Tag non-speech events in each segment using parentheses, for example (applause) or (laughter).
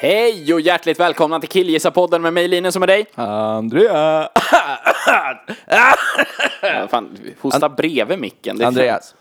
Hej och hjärtligt välkomna till Killgissarpodden med mig Linus och med dig. Andrea! Ja, fan, hosta bredvid micken. Det är Andreas.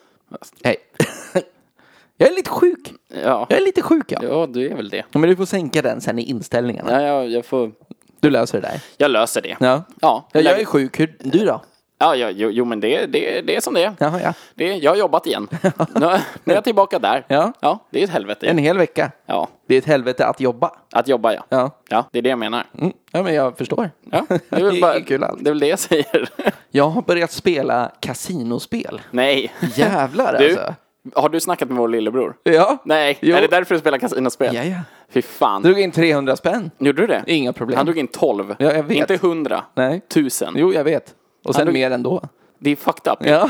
Hej. (laughs) jag är lite sjuk. främst. Ja. Jag är lite sjuk ja. ja, du är väl det. Men du får sänka den sen i inställningarna. Ja, jag, jag, får... Du löser det där. jag löser det. Ja. Ja, ja jag är sjuk. Hur, du då? ja, ja, jo, jo, men det, det, det är som det är. Jaha, ja. Det, jag har jobbat (laughs) igen. nu, nu är jag tillbaka där. Ja. ja det är ett helvete. En hel vecka. Ja, Det är ett helvete att jobba. att jobba ja. Ja. Ja, det är det jag menar. Mm. Ja, men jag förstår. (laughs) Ja, det är kul allt. det är väl det jag säger. (laughs) Jag har börjat spela kasinospel. Nej. Jävlar Du, alltså. har du snackat med vår lillebror? Ja. Nej, Jo. är det därför du spelar kasinospel? Ja, ja. Fy fan. Drog in 300 spänn. Gjorde du det? Inga problem. Han drog in 12. Ja, jag vet. Inte 100. Nej. 1000. Jo, jag vet. Och sen drog- mer ändå. Det är fucked up. Ja.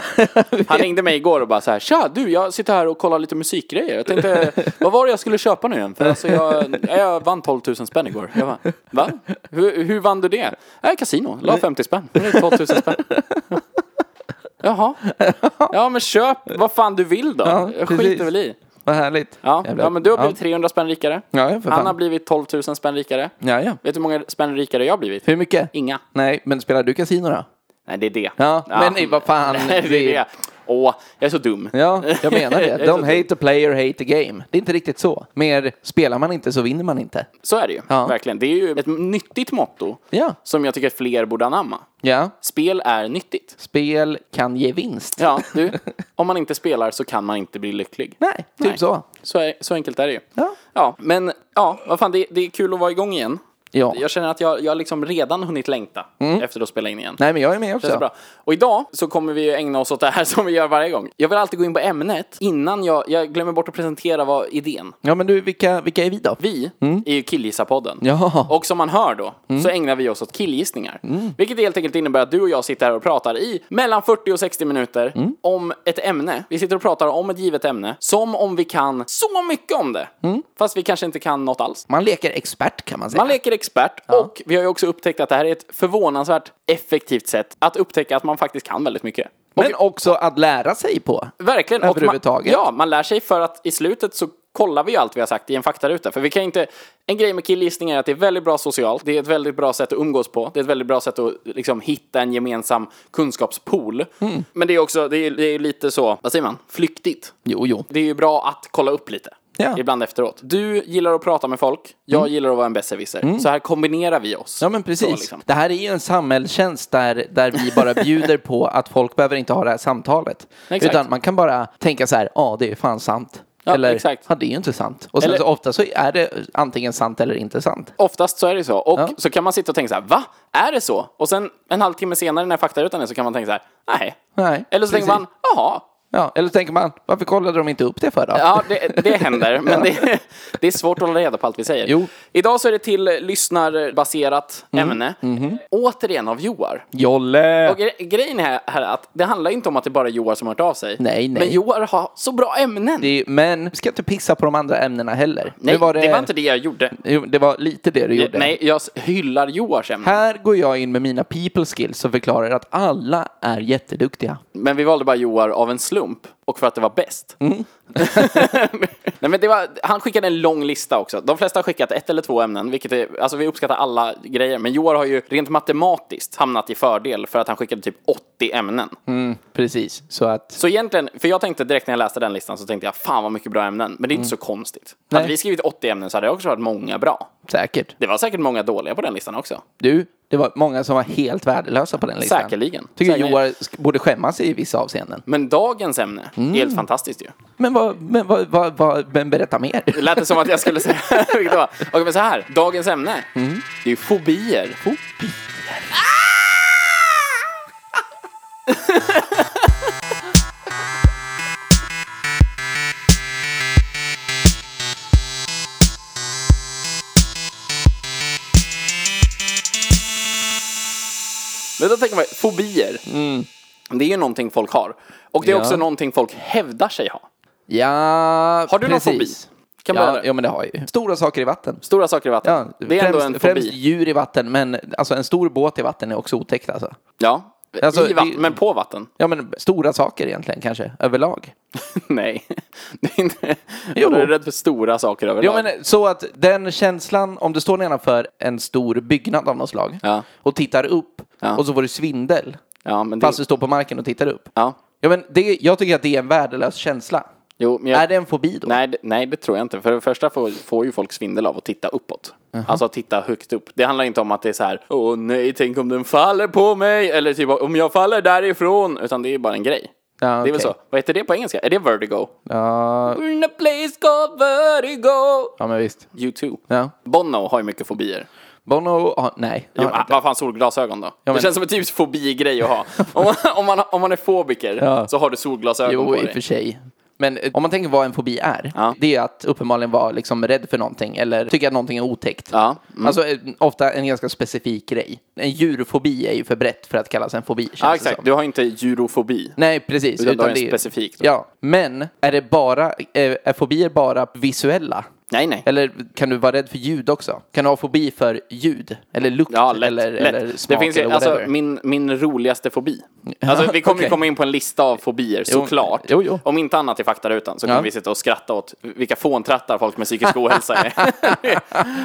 (laughs) Han ringde mig igår och bara så här, tja du, jag sitter här och kollar lite musikgrejer. (laughs) Jag tänkte, vad var det jag skulle köpa nu igen? För alltså jag, jag vann 12 000 spänn igår. Jag bara, va? Hur, hur vann du det? Äh, kasino, la 50 spänn. Nu är det 12 (laughs) 000 spänn. Jaha. Ja men köp vad fan du vill då. Ja, jag precis. skiter väl i. Vad härligt. Ja, Jävlar. ja men du har blivit Ja. 300 spänn rikare. Ja, för Han har fan. blivit 12 000 spänn rikare. Ja, ja. Vet du hur många spänn rikare jag har blivit? Hur mycket? Inga. Nej, men spelar du kasino då? Nej, det är det. Ja, men nej, vad (laughs) fan, det är det- det. Åh, jag är så dum. Ja, jag (laughs) menar Jag det. är Don't så typ- dum. hate the player, hate the game. Det är inte riktigt så. Mer spelar man inte så vinner man inte. Så är det ju. Ja. Verkligen. Det är ju ett nyttigt motto Ja. som jag tycker att fler borde anamma. Ja, Spel är nyttigt. spel kan ge vinst. Ja, du. Om man inte spelar så kan man inte bli lycklig. (laughs) Nej, typ Nej. så. Så, är, så enkelt är det ju. Ja. ja men ja, vad fan, det, det är kul att vara igång igen. Ja. Mm. Jag känner att jag, jag har liksom redan hunnit längta efter att spela in igen. Nej, men jag är med Känns också. det bra. Och idag så kommer vi ju ägna oss åt det här (laughs) som vi gör varje gång. Jag vill alltid gå in på ämnet innan jag, jag glömmer bort att presentera vad idén. Ja, men du, vilka, vilka är vi då? Vi är ju Killgissarpodden. Ja. Och som man hör då, så ägnar vi oss åt killgissningar. Vilket helt enkelt innebär att du och jag sitter här och pratar i mellan 40 och 60 minuter om ett ämne. Vi sitter och pratar om ett givet ämne, som om vi kan så mycket om det. Fast vi kanske inte kan något alls. Man leker expert kan man säga. Man leker expert och vi har ju också upptäckt att det här är ett förvånansvärt effektivt sätt att upptäcka att man faktiskt kan väldigt mycket. Och men också att lära sig på. Verkligen. och Överhuvudtaget. Man, ja, man lär sig för att i slutet så kollar vi ju allt vi har sagt i en faktaruta. För vi kan inte... En grej med killgissning är att det är väldigt bra socialt. Det är ett väldigt bra sätt att umgås på. Det är ett väldigt bra sätt att liksom hitta en gemensam kunskapspool. Mm. Men det är också, det är, det är lite så, vad säger man, flyktigt. Jo, jo. Det är ju bra att kolla upp lite. Ja. Mm. Ibland efteråt. Du gillar att prata med folk, jag gillar att vara en besserwisser. Så här kombinerar vi oss. Ja, men precis. Så, liksom. Det här är ju en samhällstjänst där, där vi bara bjuder på att folk behöver inte ha det här samtalet. Exakt. Utan man kan bara tänka så här, ja, det är fan sant. Ja, eller, exakt. ja, det är ju inte sant. Och sen Eller- så ofta så är det antingen sant eller inte sant. Oftast så är det så. Och Ja. så kan man sitta och tänka så här, va? Är det så? Och sen en halvtimme senare när faktarutan är så kan man tänka så här, nej. Nej, Eller så precis. tänker man, jaha. Ja, eller så tänker man, varför kollade de inte upp det för då? Ja, det, det händer. Men det, det är svårt att hålla reda på allt vi säger. Jo. Mm, Idag så är det till lyssnarbaserat ämne. mhm. Återigen av Joar. Jolle! Och gre- grejen här här är att det handlar inte om att det är bara är Joar som har hört av sig. Nej, nej. Men Joar har så bra ämnen. Det är, men vi ska inte pissa på de andra ämnena heller. nej, Nu det... var inte det jag gjorde. Jo, det var lite det du gjorde. Nej, jag hyllar Joars ämnen. Här går jag in med mina people skills och förklarar att alla är jätteduktiga. Men vi valde bara Joar av en slump och för att det var bäst. (laughs) Nej, men det var, han skickade en lång lista också. De flesta har skickat ett eller två ämnen, vilket är, alltså vi uppskattar alla grejer. Men Joar har ju rent matematiskt hamnat i fördel för att han skickade typ 80 ämnen. Precis, så att... Så egentligen, för jag tänkte direkt när jag läste den listan så tänkte jag fan vad mycket bra ämnen. Men det är inte så konstigt. Hade Nej. vi skrivit 80 ämnen så hade det också varit många bra. Säkert. Det var säkert många dåliga på den listan också. Du, det var många som var helt värdelösa på den listan. Säkerligen. Tycker Säkerligen. Joar sk- borde skämmas i vissa avseenden. Men dagens ämne är helt fantastiskt ju. Men, vad, men, vad, vad, vad, men berätta mer. Det lät det som att jag skulle säga (laughs) (laughs) vilket det var. Okej, men så här. Dagens ämne. Mm. Det är ju fobier. Fobier? Ah! Men då tänker man, fobier. Det är ju någonting folk har. Och det är Mm. Ja. också någonting folk hävdar sig ha. Ja, Har du precis. någon fobi? Kan man Ja, ja, ja, men det har jag ju. Stora saker i vatten. Stora saker i vatten. Ja, det är ändå främst, en fobi. främst djur i vatten, men alltså en stor båt i vatten är också otäckt. Alltså. Ja. Alltså, I vatten, det- men på vatten? (laughs) Ja, men stora saker egentligen kanske, överlag. Nej. (laughs) Det är inte... Jo. Du är rädd för stora saker överlag. Ja, men så att den känslan, om du står nedanför en stor byggnad av något slag Ja. och tittar upp Ja. och så får du svindel, ja, men det... fast du står på marken och tittar upp. Ja. Ja, men det, jag tycker att det är en värdelös känsla. Jo, men jag... Är det en fobi då? Nej, det- nej, det tror jag inte. För det första får, får ju folk svindel av att titta uppåt. Alltså att titta högt upp. Det handlar inte om att det är så här, åh nej, tänk om den faller på mig, eller typ om jag faller därifrån, utan det är bara en grej. Ja, Det är väl okej. så. Vad heter det på engelska? Är det vertigo? Ja, We're in a place called vertigo. ja men visst. You too. Ja. Bono har ju mycket fobier. Bono, ja, nej. Jo, Ja, vad fan, solglasögon då? men- Det känns som en typisk fobi-grej att ha. om, man, om, man, om man är fobiker Ja. så har du solglasögon Jo, på i dig. och för sig. Men eh, om man tänker vad en fobi är, Ja. det är att uppenbarligen vara liksom rädd för någonting eller tycka att någonting är otäckt. Ja, mm. Alltså eh, ofta en ganska specifik grej. En djurfobi är ju för brett för att kallas en fobi. känns Ja, det exakt. som. Du har inte gyrofobi. Nej, precis. Utan då är det är- specifikt då. Ja, men är det bara, är, är fobier bara visuella? Nej, nej. Eller kan du vara rädd för ljud också? Kan du ha fobi för ljud? Eller lukt? Ja, lätt. eller, lätt. eller smak? det finns ju, eller (laughs) alltså, whatever? min, min roligaste fobi. Alltså, vi kommer ju okej. komma in på en lista av fobier, såklart. jo, jo. Om inte annat i faktarutan så kommer Ja. vi sitta och skratta åt vilka fåntrattar folk (laughs) med psykisk ohälsa är.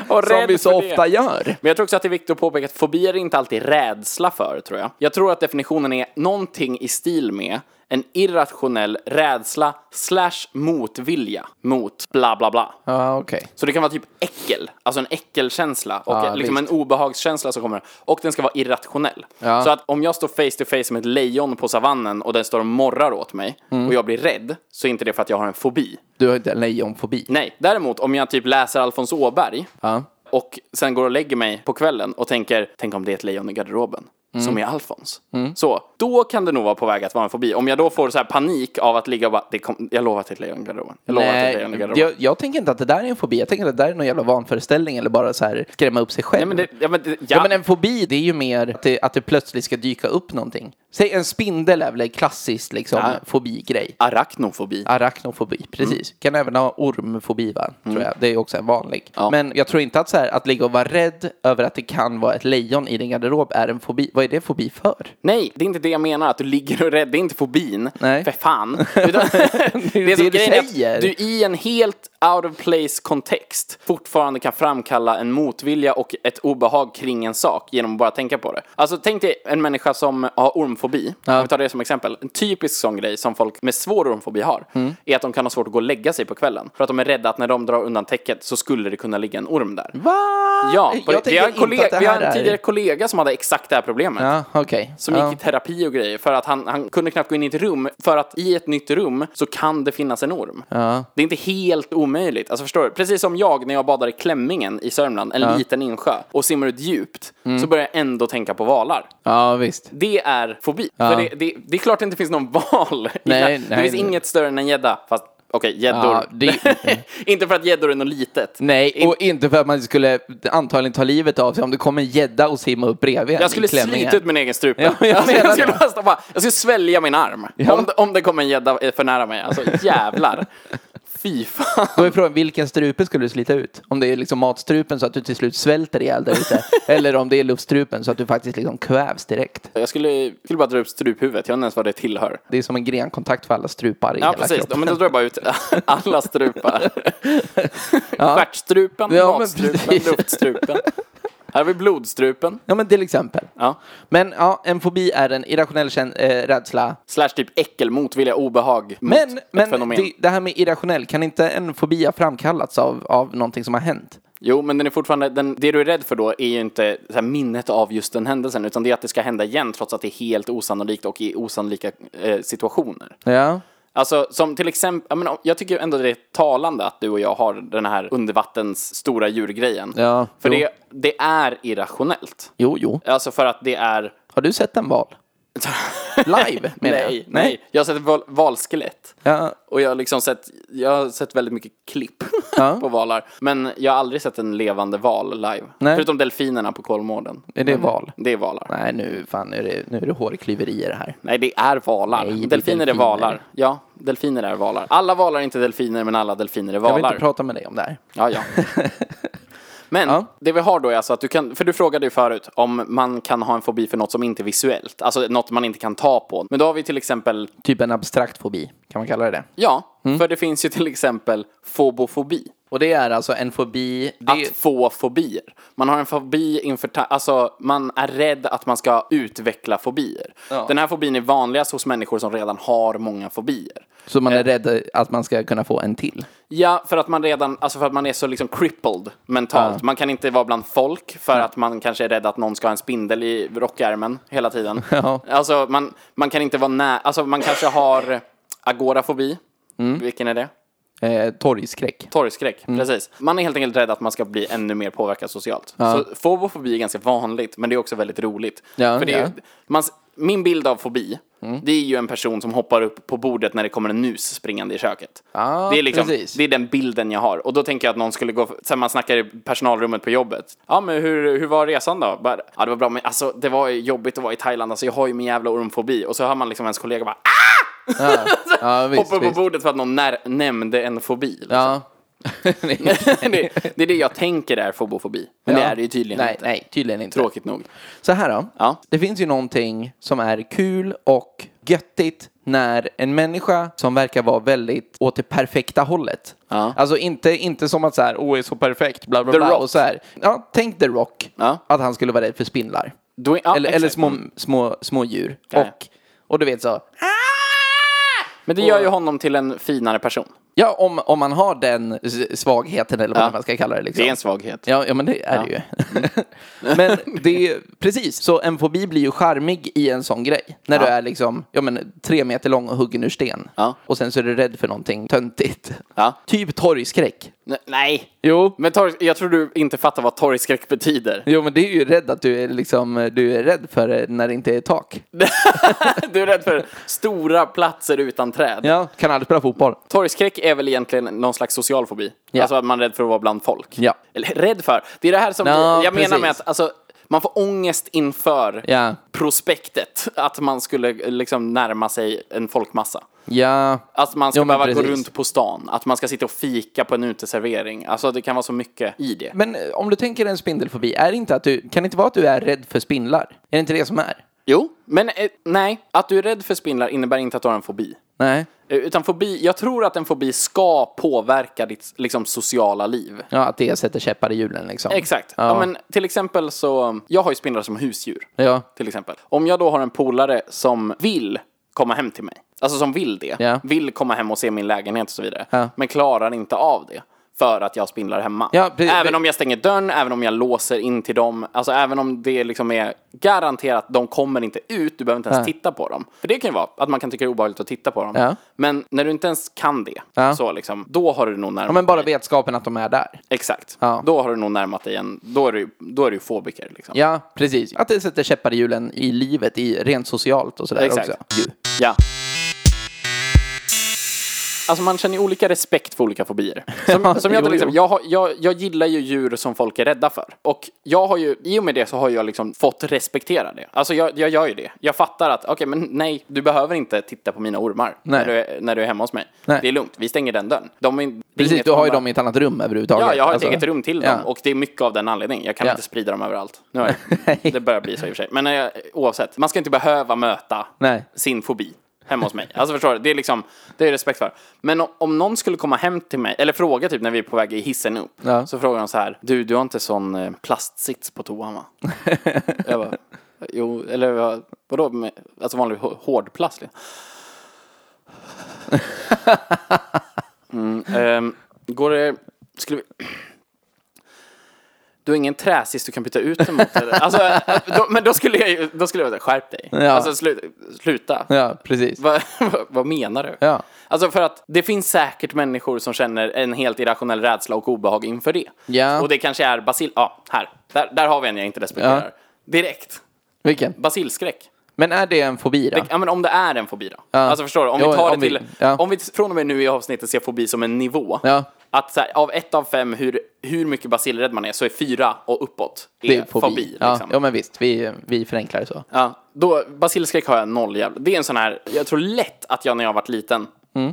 och Som vi rädd så för det. ofta gör. Men jag tror också att det är viktigt att påpeka att fobier är inte alltid rädsla för, tror jag. Jag tror att definitionen är någonting i stil med en irrationell rädsla slash motvilja mot bla bla bla. Ja, okej. Så det kan vara typ äckel, alltså en äckelkänsla och Ja, liksom en obehagskänsla som kommer. Och den ska vara irrationell. Ja. Så att om jag står face to face med ett lejon på savannen och den står och morrar åt mig Mm. och jag blir rädd så är inte det för att jag har en fobi. Du har inte en lejonfobi? Nej, däremot om jag typ läser Alfons Åberg Ja. och sen går och lägger mig på kvällen och tänker, tänk om det är ett lejon i garderoben. Mm. Som är Alfons. Så, då kan det nog vara på väg att vara en fobi. Om jag då får så här panik av att ligga och bara, det kom, jag lovar att det är ett lejon i garderoben. Jag lovar att det är ett lejon i Nej, garderoben. jag, jag tänker inte att det där är en fobi. Jag tänker att det där är någon jävla vanföreställning eller bara så här skrämma upp sig själv. Nej, men det, ja, men det, ja. Ja, men en fobi det är ju mer att det, att det plötsligt ska dyka upp någonting. Säg en spindel är väl en klassisk liksom, Ja. fobigrej. Arachnofobi. Arachnofobi, Mm. precis. Kan även ha ormfobi, va? tror jag. Det är också en vanlig. Men jag tror inte att, så här, att ligga och vara rädd över att det kan vara ett lejon i din garderob är en fobi. Vad är det fobi för? Nej, det är inte det jag menar, att du ligger och är rädd. Det är inte fobin. Nej. (laughs) För fan. Utan, det det som du grejen är att säger. Du i en helt out of place kontext fortfarande kan framkalla en motvilja och ett obehag kring en sak genom att bara tänka på det. Alltså tänk dig en människa som har ormfobi. Om vi tar det som exempel. En typisk sån grej som folk med svår ormfobi har Mm. är att de kan ha svårt att gå och lägga sig på kvällen. För att de är rädda att när de drar undan täcket så skulle det kunna ligga en orm där. Va? Ja, på jag det. vi har en, tänker inte att kollega, det vi har här en är... tidigare kollega som hade exakt det här problemet. Ja, okej. Som ja. gick i terapi och grejer för att han, han kunde knappt gå in i ett rum för att i ett nytt rum så kan det finnas en orm. Det är inte helt omöjligt. Alltså förstår du? Precis som jag när jag badar i Klämmingen i Sörmland, en liten insjö, och simmar ut djupt Mm. så börjar jag ändå tänka på valar. Ja, visst. Det är fobi. För det, det, det är klart det inte finns någon val. i Nej, Knä- det nej, finns nej. inget större än en gädda. Fast okej, gäddor. Ja, det- (laughs) inte för att gäddor är något litet. Nej, och inte för att man skulle antagligen ta livet av sig om det kom en gädda och simma upp bredvid en i Jag skulle klämmingen. slita ut min egen strupe. Ja, jag alltså, jag, menar skulle det. bara stå bara, jag skulle svälja min arm. Om, det, om det kom en gädda för nära mig. Alltså jävlar. Fy fan. Då är frågan, vilken strupe skulle du slita ut? Om det är liksom matstrupen så att du till slut svälter ihjäl där (laughs) ute. eller om det är luftstrupen så att du faktiskt liksom kvävs direkt. Jag skulle, skulle bara dra upp struphuvudet. Jag vet inte ens vad det tillhör. Det är som en grenkontakt för alla strupar i Ja, hela precis. Ja, kroppen. men då drar jag bara ut alla strupar. Stjärtstrupen, Ja, men matstrupen, precis. luftstrupen. Här har vi blodstrupen. Ja, men till exempel. Ja. Men ja, en fobi är en irrationell kän- eh, rädsla. Slash typ äckel, motvilja, obehag mot Men, ett men fenomen. det, det här med irrationell, kan inte en fobi ha framkallats av, av någonting som har hänt? Jo, men den är fortfarande, den, det du är rädd för då är ju inte så här, minnet av just den händelsen, utan det är att det ska hända igen trots att det är helt osannolikt och i osannolika eh, situationer. Ja. Alltså som till exempel, jag, menar, jag tycker ändå det är talande att du och jag har den här undervattens stora djurgrejen. Ja, för jo. det, det är irrationellt. Jo, jo. Alltså för att det är, Har du sett en val? (laughs) Live (laughs) menar nej, jag. nej. Jag har sett val- valskelett. Ja, Och jag har liksom sett, jag har sett väldigt mycket klipp (laughs) Ja. på valar. Men jag har aldrig sett en levande val live. Nej. Förutom delfinerna på Kolmården. är det val? Det är valar. Nej, Nej, nu, fan, nu, är det, nu är det hårklyverier här. det är valar. Nej, det är delfiner är delfiner. valar. Ja, delfiner är valar. Alla valar är inte delfiner, men alla delfiner är Jag vill valar. inte prata med dig om det här. (laughs) Ja, ja. Men Ja. det vi har då är alltså att du kan, för du frågade ju förut om man kan ha en fobi för något som inte är visuellt, alltså något man inte kan ta på. Men då har vi till exempel, Typ en abstrakt fobi, kan man kalla det det? ja, Mm. för det finns ju till exempel fobofobi. Och det är alltså en fobi... Det, Att få fobier. Man har en fobi inför, ta- alltså man är rädd att man ska utveckla fobier. Ja. Den här fobin är vanligast hos människor som redan har många fobier. så man är rädd att man ska kunna få en till. Ja, för att man redan, alltså för att man är så liksom crippled mentalt. Man kan inte vara bland folk för att man kanske är rädd att någon ska ha en spindel i rockärmen hela tiden. (laughs) Ja. Alltså man, man kan inte vara nära, alltså man kanske har agorafobi. Mm. Vilken är det? Eh, (laughs) torgskräck. Torgskräck, Mm. precis. Man är helt enkelt rädd att man ska bli ännu mer påverkad socialt. Så fobofobi är ganska vanligt, men det är också väldigt roligt. Ja, För det är, ja. Mm. man, s- min bild av fobi, det är ju en person som hoppar upp på bordet när det kommer en mus springande i köket. Ja, det, är liksom, precis. det är den bilden jag har. Och då tänker jag att någon skulle gå, sen man snackar i personalrummet på jobbet. Ja, men hur, hur var resan då? Bara, ja, det var bra, men alltså det var ju jobbigt att vara i Thailand, alltså jag har ju min jävla ormfobi. Och så hör man liksom ens kollega bara, ah! Ja, visst, hoppar visst. på bordet för att någon när, nämnde en fobi. liksom. (laughs) Ja. (laughs) det, (laughs) det är det jag tänker är fobofobi. Men det är det ju tydligen nej, inte. Nej, tydligen inte. Tråkigt nog. Så här då. Ja. Det finns ju någonting som är kul och göttigt när en människa som verkar vara väldigt åt det perfekta hållet. Ja. Alltså inte, inte som att så här, åh, är så perfekt, bla bla The bla. Rock. Och så här. Ja, tänk The Rock. Ja. Att han skulle vara rädd för spindlar. Då är- ja, eller exakt. eller små, små, små djur. Ja, ja. Och, och du vet så. Men det gör ju honom till en finare person. Ja, om, om man har den s- svagheten eller vad man ska kalla det. Liksom. Det är en svaghet. Ja, ja men det är det ju. (laughs) men det är precis, så en fobi blir ju charmig i en sån grej. När du är liksom, ja men tre meter lång och huggen ur sten. Ja. Och sen så är du rädd för någonting töntigt. (laughs) Ja. Typ torgskräck. N- Nej! Jo. Men torg, jag tror du inte fattar vad torgskräck betyder. (laughs) Jo men det är ju rädd att du är liksom, du är rädd för det när det inte är tak. Du är rädd för stora platser utan träd. Ja, kan aldrig spela fotboll. Torgskräck är väl egentligen någon slags social fobi. Ja. Alltså att man är rädd för att vara bland folk. Ja. Eller rädd för. Det är det här som Ja, jag menar precis. med att alltså, man får ångest inför Ja. prospektet. Att man skulle eh, liksom närma sig en folkmassa. Ja. Att man ska Jo, men behöva gå precis. runt på stan, att man ska sitta och fika på en uteservering. Alltså det kan vara så mycket i det. Men eh, om du tänker en spindelfobi, är det inte att du, kan det inte vara att du är rädd för spindlar? Är det inte det som är? Jo, men eh, nej, att du är rädd för spindlar innebär inte att du har en fobi. Nej. Eh, Utan fobi, jag tror att en fobi ska påverka ditt liksom, sociala liv. Ja, att det sätter käppar i hjulen liksom. Exakt. Ja. men till exempel så, jag har ju spindlar som husdjur. Ja. Till exempel. Om jag då har en polare som vill komma hem till mig, alltså som vill det, Ja. vill komma hem och se min lägenhet och så vidare, Ja. men klarar inte av det. För att jag har spindlar hemma. Ja, pre- även pre- om jag stänger dörren, även om jag låser in till dem. Alltså även om det liksom är garanterat, de kommer inte ut, du behöver inte ens Ja. titta på dem. För det kan ju vara att man kan tycka det är obehagligt att titta på dem. Ja. Men när du inte ens kan det, Ja. så liksom, då har du nog närmat Ja, men bara vetskapen att de är där. Exakt. Ja. Då har du nog närmat dig en, då är du, då är du fobiker liksom. Ja, precis. Att det sätter käppar i hjulen i livet, i, rent socialt och sådär Exakt. också. Ju. Ja. Alltså man känner ju olika respekt för olika fobier. Som, Ja, som jag, till jo, exempel, jo. jag, har, jag, jag gillar ju djur som folk är rädda för. Och jag har ju, i och med det så har jag liksom fått respektera det. Alltså jag, jag gör ju det. Jag fattar att, okej men nej, du behöver inte titta på mina ormar Nej. När, du är, när du är hemma hos mig. Nej. Det är lugnt, vi stänger den dörren. De är, det är Precis, inget du har ju man bara- dem i ett annat rum överhuvudtaget. Ja, jag har ett Alltså, eget rum till ja. dem och det är mycket av den anledningen. Jag kan Ja. inte sprida dem överallt. Nu har (laughs) jag, det börjar bli så i och för sig. Men eh, oavsett, man ska inte behöva möta Nej. sin fobi hemma hos mig. Alltså förstår du, det är liksom, det är respekt för. Men o- om någon skulle komma hem till mig, eller fråga typ när vi är på väg i hissen upp, Ja. så frågar de så här, du, du har inte sån eh, plastsits på (laughs) toan va? jag bara, jo, eller vad- vadå, med, alltså vanlig hå- hårdplast (laughs) liksom. Ehm, går det... Skulle vi... Du har ingen träsist du kan byta ut den mot? eller? Alltså, då, men då skulle jag ju- då skulle jag säga, skärp dig. Ja. Alltså, sluta. sluta. Ja, precis. Vad, vad, vad menar du? Ja. Alltså för att det finns säkert människor som känner en helt irrationell rädsla och obehag inför det. Ja. Och det kanske är basil... Ja, här. Där, där har vi en jag inte respekterar. Ja. Direkt. Vilken? Basilskräck. Men är det en fobi då? Det, ja, men om det är en fobi då? Alltså förstår du? Om Jo, vi tar om det vi- till... ja. Om vi från och med nu i avsnittet ser fobi som en nivå. Ja. Att så här, av ett av fem, hur, hur mycket basilrädd man är, så är fyra och uppåt är, Det fobi. ja, liksom. ja, men visst. Vi, vi förenklar det så. Ja, då, basilskräck har jag noll jävla. Det är en sån här, jag tror lätt att jag när jag har varit liten Mm.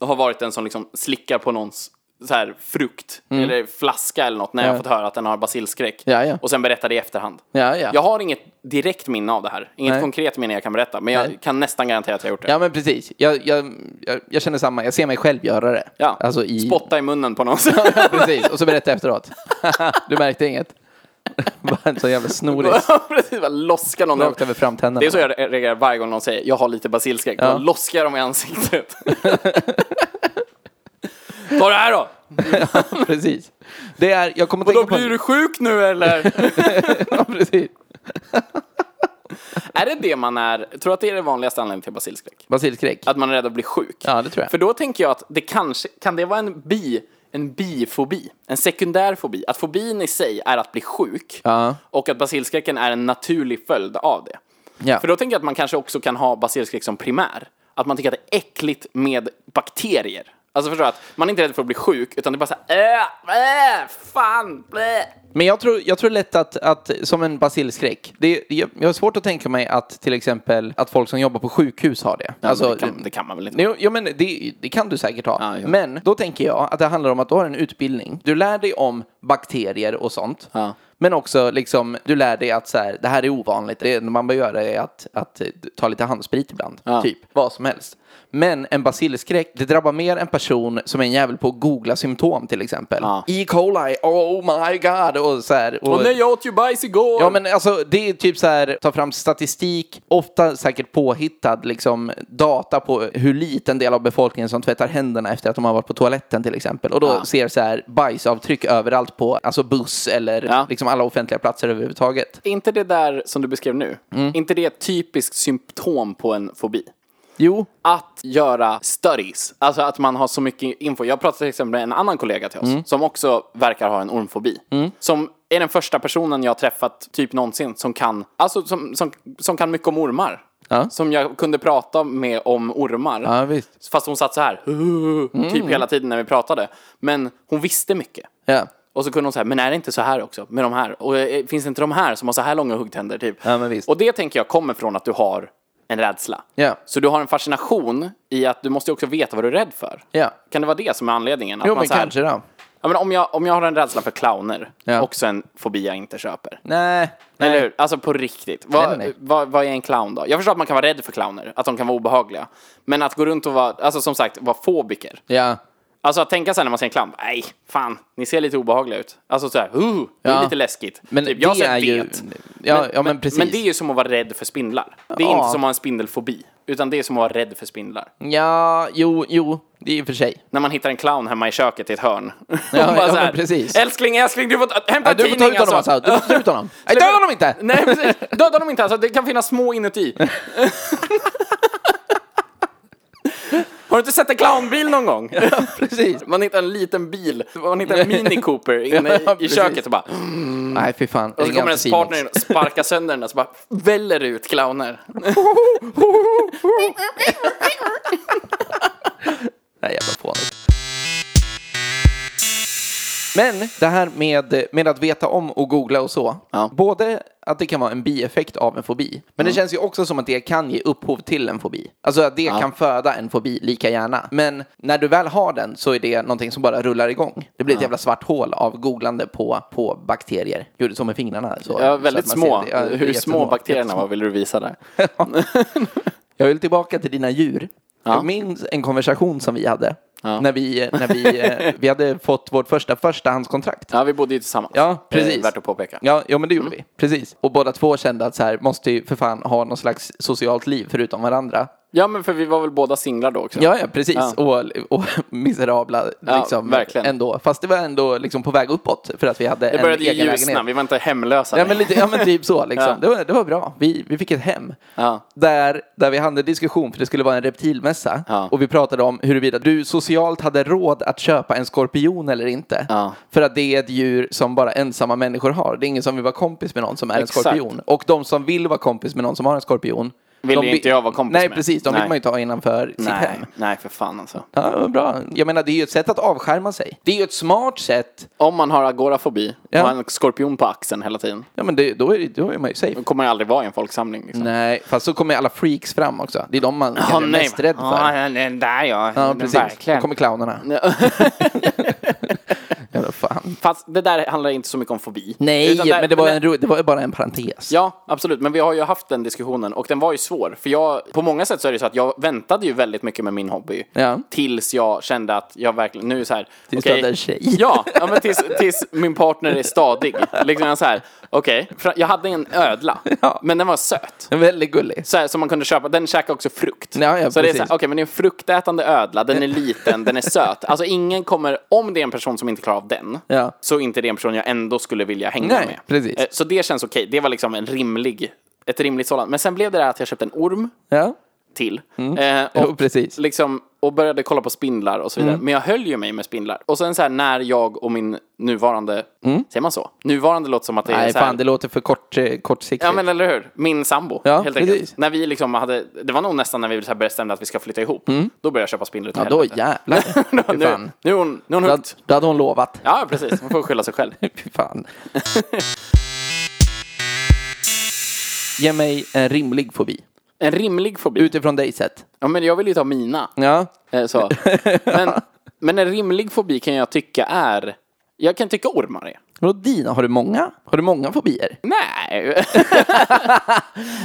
har varit den som liksom slickar på någons så här frukt eller flaska eller något när jag Mm. Ja. fått höra att den har basilskräck. Ja, ja. Och sen berättar det i efterhand. Ja, ja. Jag har inget direkt minne av det här. Inget Nej. konkret minne jag kan berätta. Men jag Nej. kan nästan garantera att jag har gjort det. Ja, men precis. Jag, jag, jag, jag känner samma. Jag ser mig själv göra det. Ja. Alltså i... Spotta i munnen på någon. Ja, (laughs) precis. Och så berättar jag efteråt. (laughs) du märkte inget? (laughs) Bara en så jävla (laughs) snorig. Precis, bara loska någon. Rakt över framtänderna. Det är så jag reagerar varje gång någon säger jag har lite basilskräck. Ja. Då loskar jag dem i ansiktet. (laughs) Ta det här då! (laughs) precis. Det är, jag kommer Och då tänka på... blir du sjuk nu eller? (laughs) Ja, precis. (laughs) är det det man är? Tror du att det är den vanligaste anledningen till basilskräck? Basilskräck. Att man är rädd att bli sjuk? Ja, det tror jag. För då tänker jag att det kanske, kan det vara en bi, en bifobi? En sekundär fobi? Att fobin i sig är att bli sjuk Ja. och att basilskräcken är en naturlig följd av det. Ja. För då tänker jag att man kanske också kan ha basilskräck som primär. Att man tycker att det är äckligt med bakterier. Alltså förstår du? Att man är inte rädd för att bli sjuk, utan det är bara så här, äh, äh, fan, bleh. Men jag tror, jag tror lätt att, att som en basilskräck. Det, jag, jag har svårt att tänka mig att till exempel att folk som jobbar på sjukhus har det. Alltså- det, kan, det kan man väl inte? Jo, jo men det, det kan du säkert ha. Ja, ja. Men då tänker jag att det handlar om att du har en utbildning. Du lär dig om bakterier och sånt. Ja. Men också liksom, du lär dig att så här, det här är ovanligt. Det enda man bör göra är att, att eh, ta lite handsprit ibland. Ja. Typ, vad som helst. Men en basilskräck, det drabbar mer en person som är en jävel på att googla symptom till exempel. Ja. E. coli, oh my god, och så här. Och nej, jag åt ju bajs igår! Ja men alltså det är typ så här, ta fram statistik, ofta säkert påhittad liksom data på hur liten del av befolkningen som tvättar händerna efter att de har varit på toaletten till exempel. Och då Ja. ser så här bajsavtryck överallt på alltså buss eller Ja. liksom alla offentliga platser överhuvudtaget. Är inte det där som du beskrev nu, Mm. inte det ett typiskt symptom på en fobi? Jo, Att göra studies, alltså att man har så mycket info. Jag pratade till exempel med en annan kollega till oss Mm. som också verkar ha en ormfobi. Som är den första personen jag har träffat typ någonsin som kan, alltså som, som, som kan mycket om ormar. Ja. Som jag kunde prata med om ormar. Ja, visst. Mm. Fast hon satt så här, (laughs) typ hela tiden när vi pratade. Men hon visste mycket. ja. Och så kunde hon säga, men är det inte så här också med de här? Och eh, finns det inte de här som har så här långa huggtänder? Typ. Ja, men visst. Och det tänker jag kommer från att du har en rädsla. Ja. Så du har en fascination i att du måste ju också veta vad du är rädd för. Ja. Kan det vara det som är anledningen? Att Jo man men så här- kanske då. Ja, men om, jag, om jag har en rädsla för clowner, Ja. också en fobi jag inte köper. Nej. Eller hur? Alltså på riktigt. Vad, Nej, nej, nej. Vad, vad är en clown då? Jag förstår att man kan vara rädd för clowner, att de kan vara obehagliga. Men att gå runt och vara, alltså som sagt, vara fobiker. Ja. Alltså att tänka sen när man ser en clown, nej, fan, ni ser lite obehagliga ut. Alltså såhär, uh, det är Ja. lite läskigt. Men typ, jag har det sett är ju... det. Ja, men, ja, men precis. Men det är ju som att vara rädd för spindlar. Det är Ja. inte som att ha en spindelfobi, utan det är som att vara rädd för spindlar. Ja, jo, jo, det är i och för sig. När man hittar en clown hemma i köket i ett hörn. (laughs) Ja, ja, men precis. Älskling, älskling, du får ta- Ja, hämta en du får ta ut tidning honom alltså. alltså. Du får ta ut honom. Nej, döda honom inte! (laughs) Nej, precis. Döda dem inte alltså, det kan finnas små inuti. (laughs) Har du inte sett en clownbil någon gång? (laughs) Precis. Man hittar en liten bil, man hittar (laughs) en Mini Cooper inne Ja, i, i precis. köket och bara... Nej, fy fan. Och så kommer ens partner in och sparkar sönder den och så bara väller det ut clowner. Nej, jävla fånigt. Men det här med, med att veta om och googla och så. Ja. Både att det kan vara en bieffekt av en fobi. Men det känns ju också som att det kan ge upphov till en fobi. Alltså att det kan föda en fobi lika gärna. Men när du väl har den så är det någonting som bara rullar igång. Det blir ett jävla svart hål av googlande på, på bakterier. Gjorde så med fingrarna. Så, Ja, så väldigt att man små. ser det. Ja, det är Hur små jättesmå. bakterierna var ville du (laughs) visa där? Jag vill tillbaka till dina djur. Jag minns en konversation som vi hade. När, vi, när vi, (laughs) eh, vi hade fått vårt första förstahandskontrakt. Ja, vi bodde ju tillsammans. Ja, Det är precis. Värt att påpeka. Ja, ja, men det gjorde Mm. vi. Precis. Och båda två kände att så här, måste ju för fan ha någon slags socialt liv förutom varandra. Ja, men för vi var väl båda singlar då också? Ja, ja, precis. Och, (laughs) och miserabla Ja, liksom verkligen. ändå. Fast det var ändå liksom på väg uppåt för att vi hade Det en började ju egen ljusna, lägenhet. vi var inte Ja hemlösa längre. men, lite, ja men typ så liksom. Ja. Det, var, det var bra. Vi, vi fick ett hem. (laughs) Ja. (laughs) Där, där vi hade en diskussion för det skulle vara en reptilmässa. Ja. Och vi pratade om huruvida du socialt hade råd att köpa en skorpion eller inte. Ja. För att det är ett djur som bara ensamma människor har. Det är ingen som vill vara kompis med någon som är en Exakt. skorpion. Och de som vill vara kompis med någon som har en skorpion. Vill de ju inte jag vara kompis Nej, med. precis. De Nej. vill man ju ta innanför sitt Nej, hem. nej, för fan alltså. Ja, vad bra. Jag menar, det är ju ett sätt att avskärma sig. Det är ju ett smart sätt. Om man har agorafobi Ja. och har en skorpion på axeln hela tiden, Ja, men det, då, är, då är man ju safe. då kommer jag aldrig vara i en folksamling. Liksom. Nej, fast så kommer ju alla freaks fram också. Det är de man kanske är mest rädd för. Ja, den där ja. Ja, Den precis. Verkligen. Då kommer clownerna. (laughs) Jävla fan. Fast det där handlar inte så mycket om fobi. Nej, Utan där- men det var, en, ro- det var ju bara en parentes. Ja, absolut. Men vi har ju haft den diskussionen och den var ju svår. För jag, på många sätt så är det så att jag väntade ju väldigt mycket med min hobby. Ja. Tills jag kände att jag verkligen, nu är det så här. Tills okej. du hade en tjej. Ja, ja men tills, tills min partner är stadig. Liksom jag så här, okej. För Jag hade en ödla, Ja. men den var söt. Den är Väldigt gullig. Så här, som man kunde köpa, den käkar också frukt. Ja, ja, så det är så här, precis. okej men det är en fruktätande ödla, den är liten, den är söt. Alltså ingen kommer, om det är en person som inte klarar av den, Ja. så inte det är en person jag ändå skulle vilja hänga Nej, med. precis. Eh, Så det känns okej, det var liksom en rimlig, ett rimligt sådant. Men sen blev det där att jag köpte en orm Ja, till. Eh, och, Mm. (laughs) jo, precis. Mm. liksom, och började kolla på spindlar och så vidare. Men jag höll ju mig med spindlar. Och sen så här när jag och min nuvarande, säger man så? Nuvarande låter som att det är Mm. Nej, så här, fan, det låter för kort, eh, kortsiktigt. Ja men eller hur, min sambo Ja, helt enkelt. precis. När vi liksom hade, det var nog nästan när vi så här bestämde att vi ska flytta ihop. Då började jag köpa spindlar till Mm. ja, då helvete. (laughs) jävlar. Fy nu, fan. nu är hon, nu är hon Då, hooked. hade- då hade hon lovat. (laughs) Ja precis, hon får skylla sig själv. Fy (laughs) fan. Ge mig en rimlig fobi. En rimlig fobi. Utifrån dig sett. Ja men jag vill ju ta mina. Ja. (laughs) Eh, Så. Men, men en rimlig fobi kan jag tycka är, jag kan tycka ormar är. Vadå dina? Har du många? Har du många fobier? (laughs) Nej.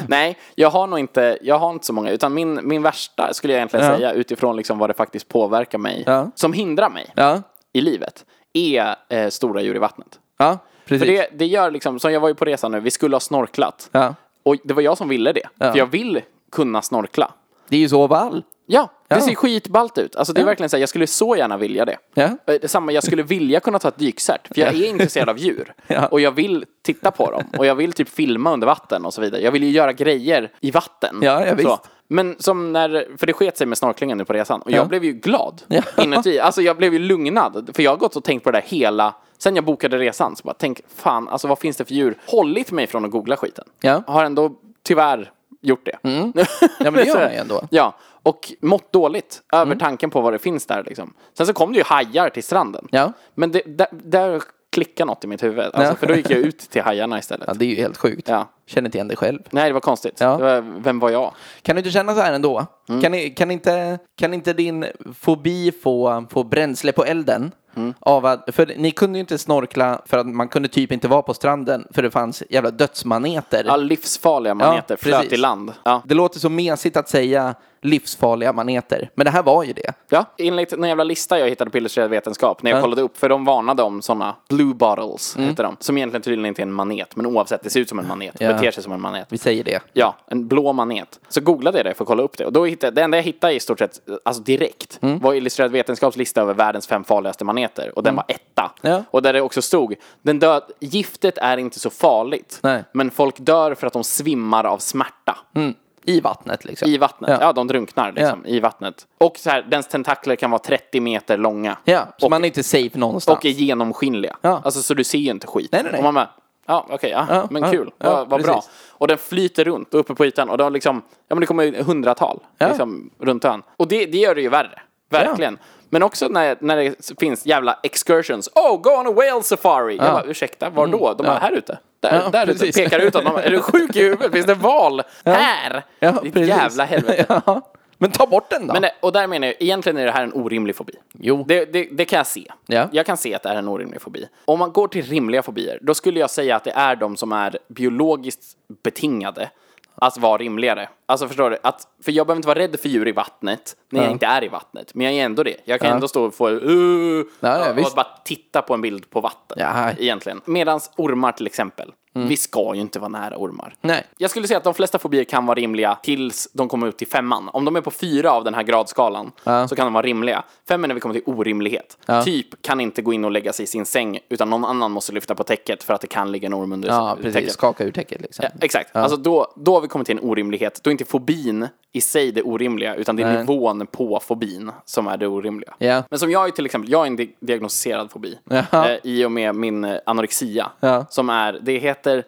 Nej, jag har nog inte, jag har inte så många. Utan min, min värsta skulle jag egentligen Ja. säga utifrån liksom vad det faktiskt påverkar mig. Ja. Som hindrar mig Ja. i livet. Är eh, stora djur i vattnet. Ja, precis. För det, det gör liksom, som jag var ju på resan nu, vi skulle ha snorklat. Ja. Och det var jag som ville det. Ja. För jag vill kunna snorkla. det är ju så vall. Ja, det Ja. ser skitballt ut. Alltså det är verkligen så här, jag skulle så gärna vilja det. Ja. Eh, det är Samma, jag skulle vilja kunna ta ett dykcert, för jag är intresserad av djur. (laughs) Ja. Och jag vill titta på dem, och jag vill typ filma under vatten och så vidare. Jag vill ju göra grejer i vatten. Ja, ja, så. visst. Men som när, för det sket sig med snorklingen nu på resan, och Ja. jag blev ju glad Ja. inuti. Alltså jag blev ju lugnad, för jag har gått och tänkt på det där hela, sen jag bokade resan, så bara tänk, fan, alltså vad finns det för djur? Hållit mig från att googla skiten. Ja. Mm. Har ändå tyvärr gjort det. (laughs) Ja, men det gör man ju ändå. Ja, och mått dåligt över Mm. tanken på vad det finns där liksom. Sen så kom det ju hajar till stranden. Ja. Men det, där, där klickade något i mitt huvud. Alltså, Ja. För då gick jag ut till hajarna istället. Ja, det är ju helt sjukt. Ja. Känner inte igen dig själv. Nej, det var konstigt. Ja. Det var, vem var jag? Kan du inte känna så här ändå? Mm. Kan, i- kan, inte, kan inte din fobi få, få bränsle på elden? Mm. Av att, för ni kunde ju inte snorkla för att man kunde typ inte vara på stranden för det fanns jävla dödsmaneter. Ja, livsfarliga maneter Ja, flöt precis. i land. Ja. Det låter så mesigt att säga livsfarliga maneter, men det här var ju det. ja, enligt den jävla lista jag hittade på Illustrerad Vetenskap när jag Ja. Mm. kollade upp, för de varnade om sådana blue bottles, heter de. Som egentligen tydligen inte är en manet, men oavsett, det ser ut som en manet, Ja. beter sig som en manet. Vi säger det. Ja, en blå manet. Så googlade jag det för att kolla upp det. Och då hittade, det enda jag hittade i stort sett, alltså direkt, Mm. var Illustrerad Vetenskaps lista över världens fem farligaste maneter. Och den var etta. Mm. Ja. Och där det också stod, den död, giftet är inte så farligt. Nej. Men folk dör för att de svimmar av smärta. I vattnet liksom. I vattnet. Ja. Ja. de drunknar liksom i vattnet. Och så här, dens tentakler kan vara 30 meter långa. Ja, så och, man är inte safe någonstans. och är genomskinliga. Ja. Alltså så du ser ju inte skit. Nej, nej, nej. Och man bara, ja okej, ja, Ja, men ja, kul, ja, vad, vad bra. precis. Och den flyter runt uppe på ytan och då liksom, ja men det kommer ju hundratal Ja. liksom, runt ön. Och det, det gör det ju värre, verkligen. Men också när, när det finns jävla excursions. Oh, go on a whale safari! Jag bara, ursäkta, var då? De bara, här ute. Där, Mm. Ja, där ute. precis. Pekar utåt. De bara, är du sjuk i huvudet? Finns det val? Här! Ja, Ditt precis. jävla helvete. (laughs) ja. Men ta bort den då! Men det, och där menar jag, egentligen är det här en orimlig fobi. Jo. Det, det, det kan jag se. Ja. Jag kan se att det är en orimlig fobi. Om man går till rimliga fobier, då skulle jag säga att det är de som är biologiskt betingade att vara rimligare. Alltså förstår du? Att, för jag behöver inte vara rädd för djur i vattnet när jag inte är i vattnet. Men jag är ändå det. Jag kan ändå stå och få uh, ja, och visst. bara titta på en bild på vatten. Ja. Mm. Egentligen. Medan ormar till exempel. Vi ska ju inte vara nära ormar. Nej. Jag skulle säga att de flesta fobier kan vara rimliga tills de kommer upp till femman. Om de är på fyra av den här gradskalan så kan de vara rimliga. Fem är när vi kommer till orimlighet. Typ kan inte gå in och lägga sig i sin säng utan någon annan måste lyfta på täcket för att det kan ligga en orm under Ja, s- precis. täcket. Skaka ur täcket liksom. Exakt. Alltså då, då har vi kommit till en orimlighet. Då är inte fobin i sig det orimliga, utan det är Nej. nivån på fobin som är det orimliga. Ja. Men som jag är till exempel, jag är en di- diagnostiserad fobi. Jaha. Eh, I och med min eh, anorexia. Ja. Som är, det heter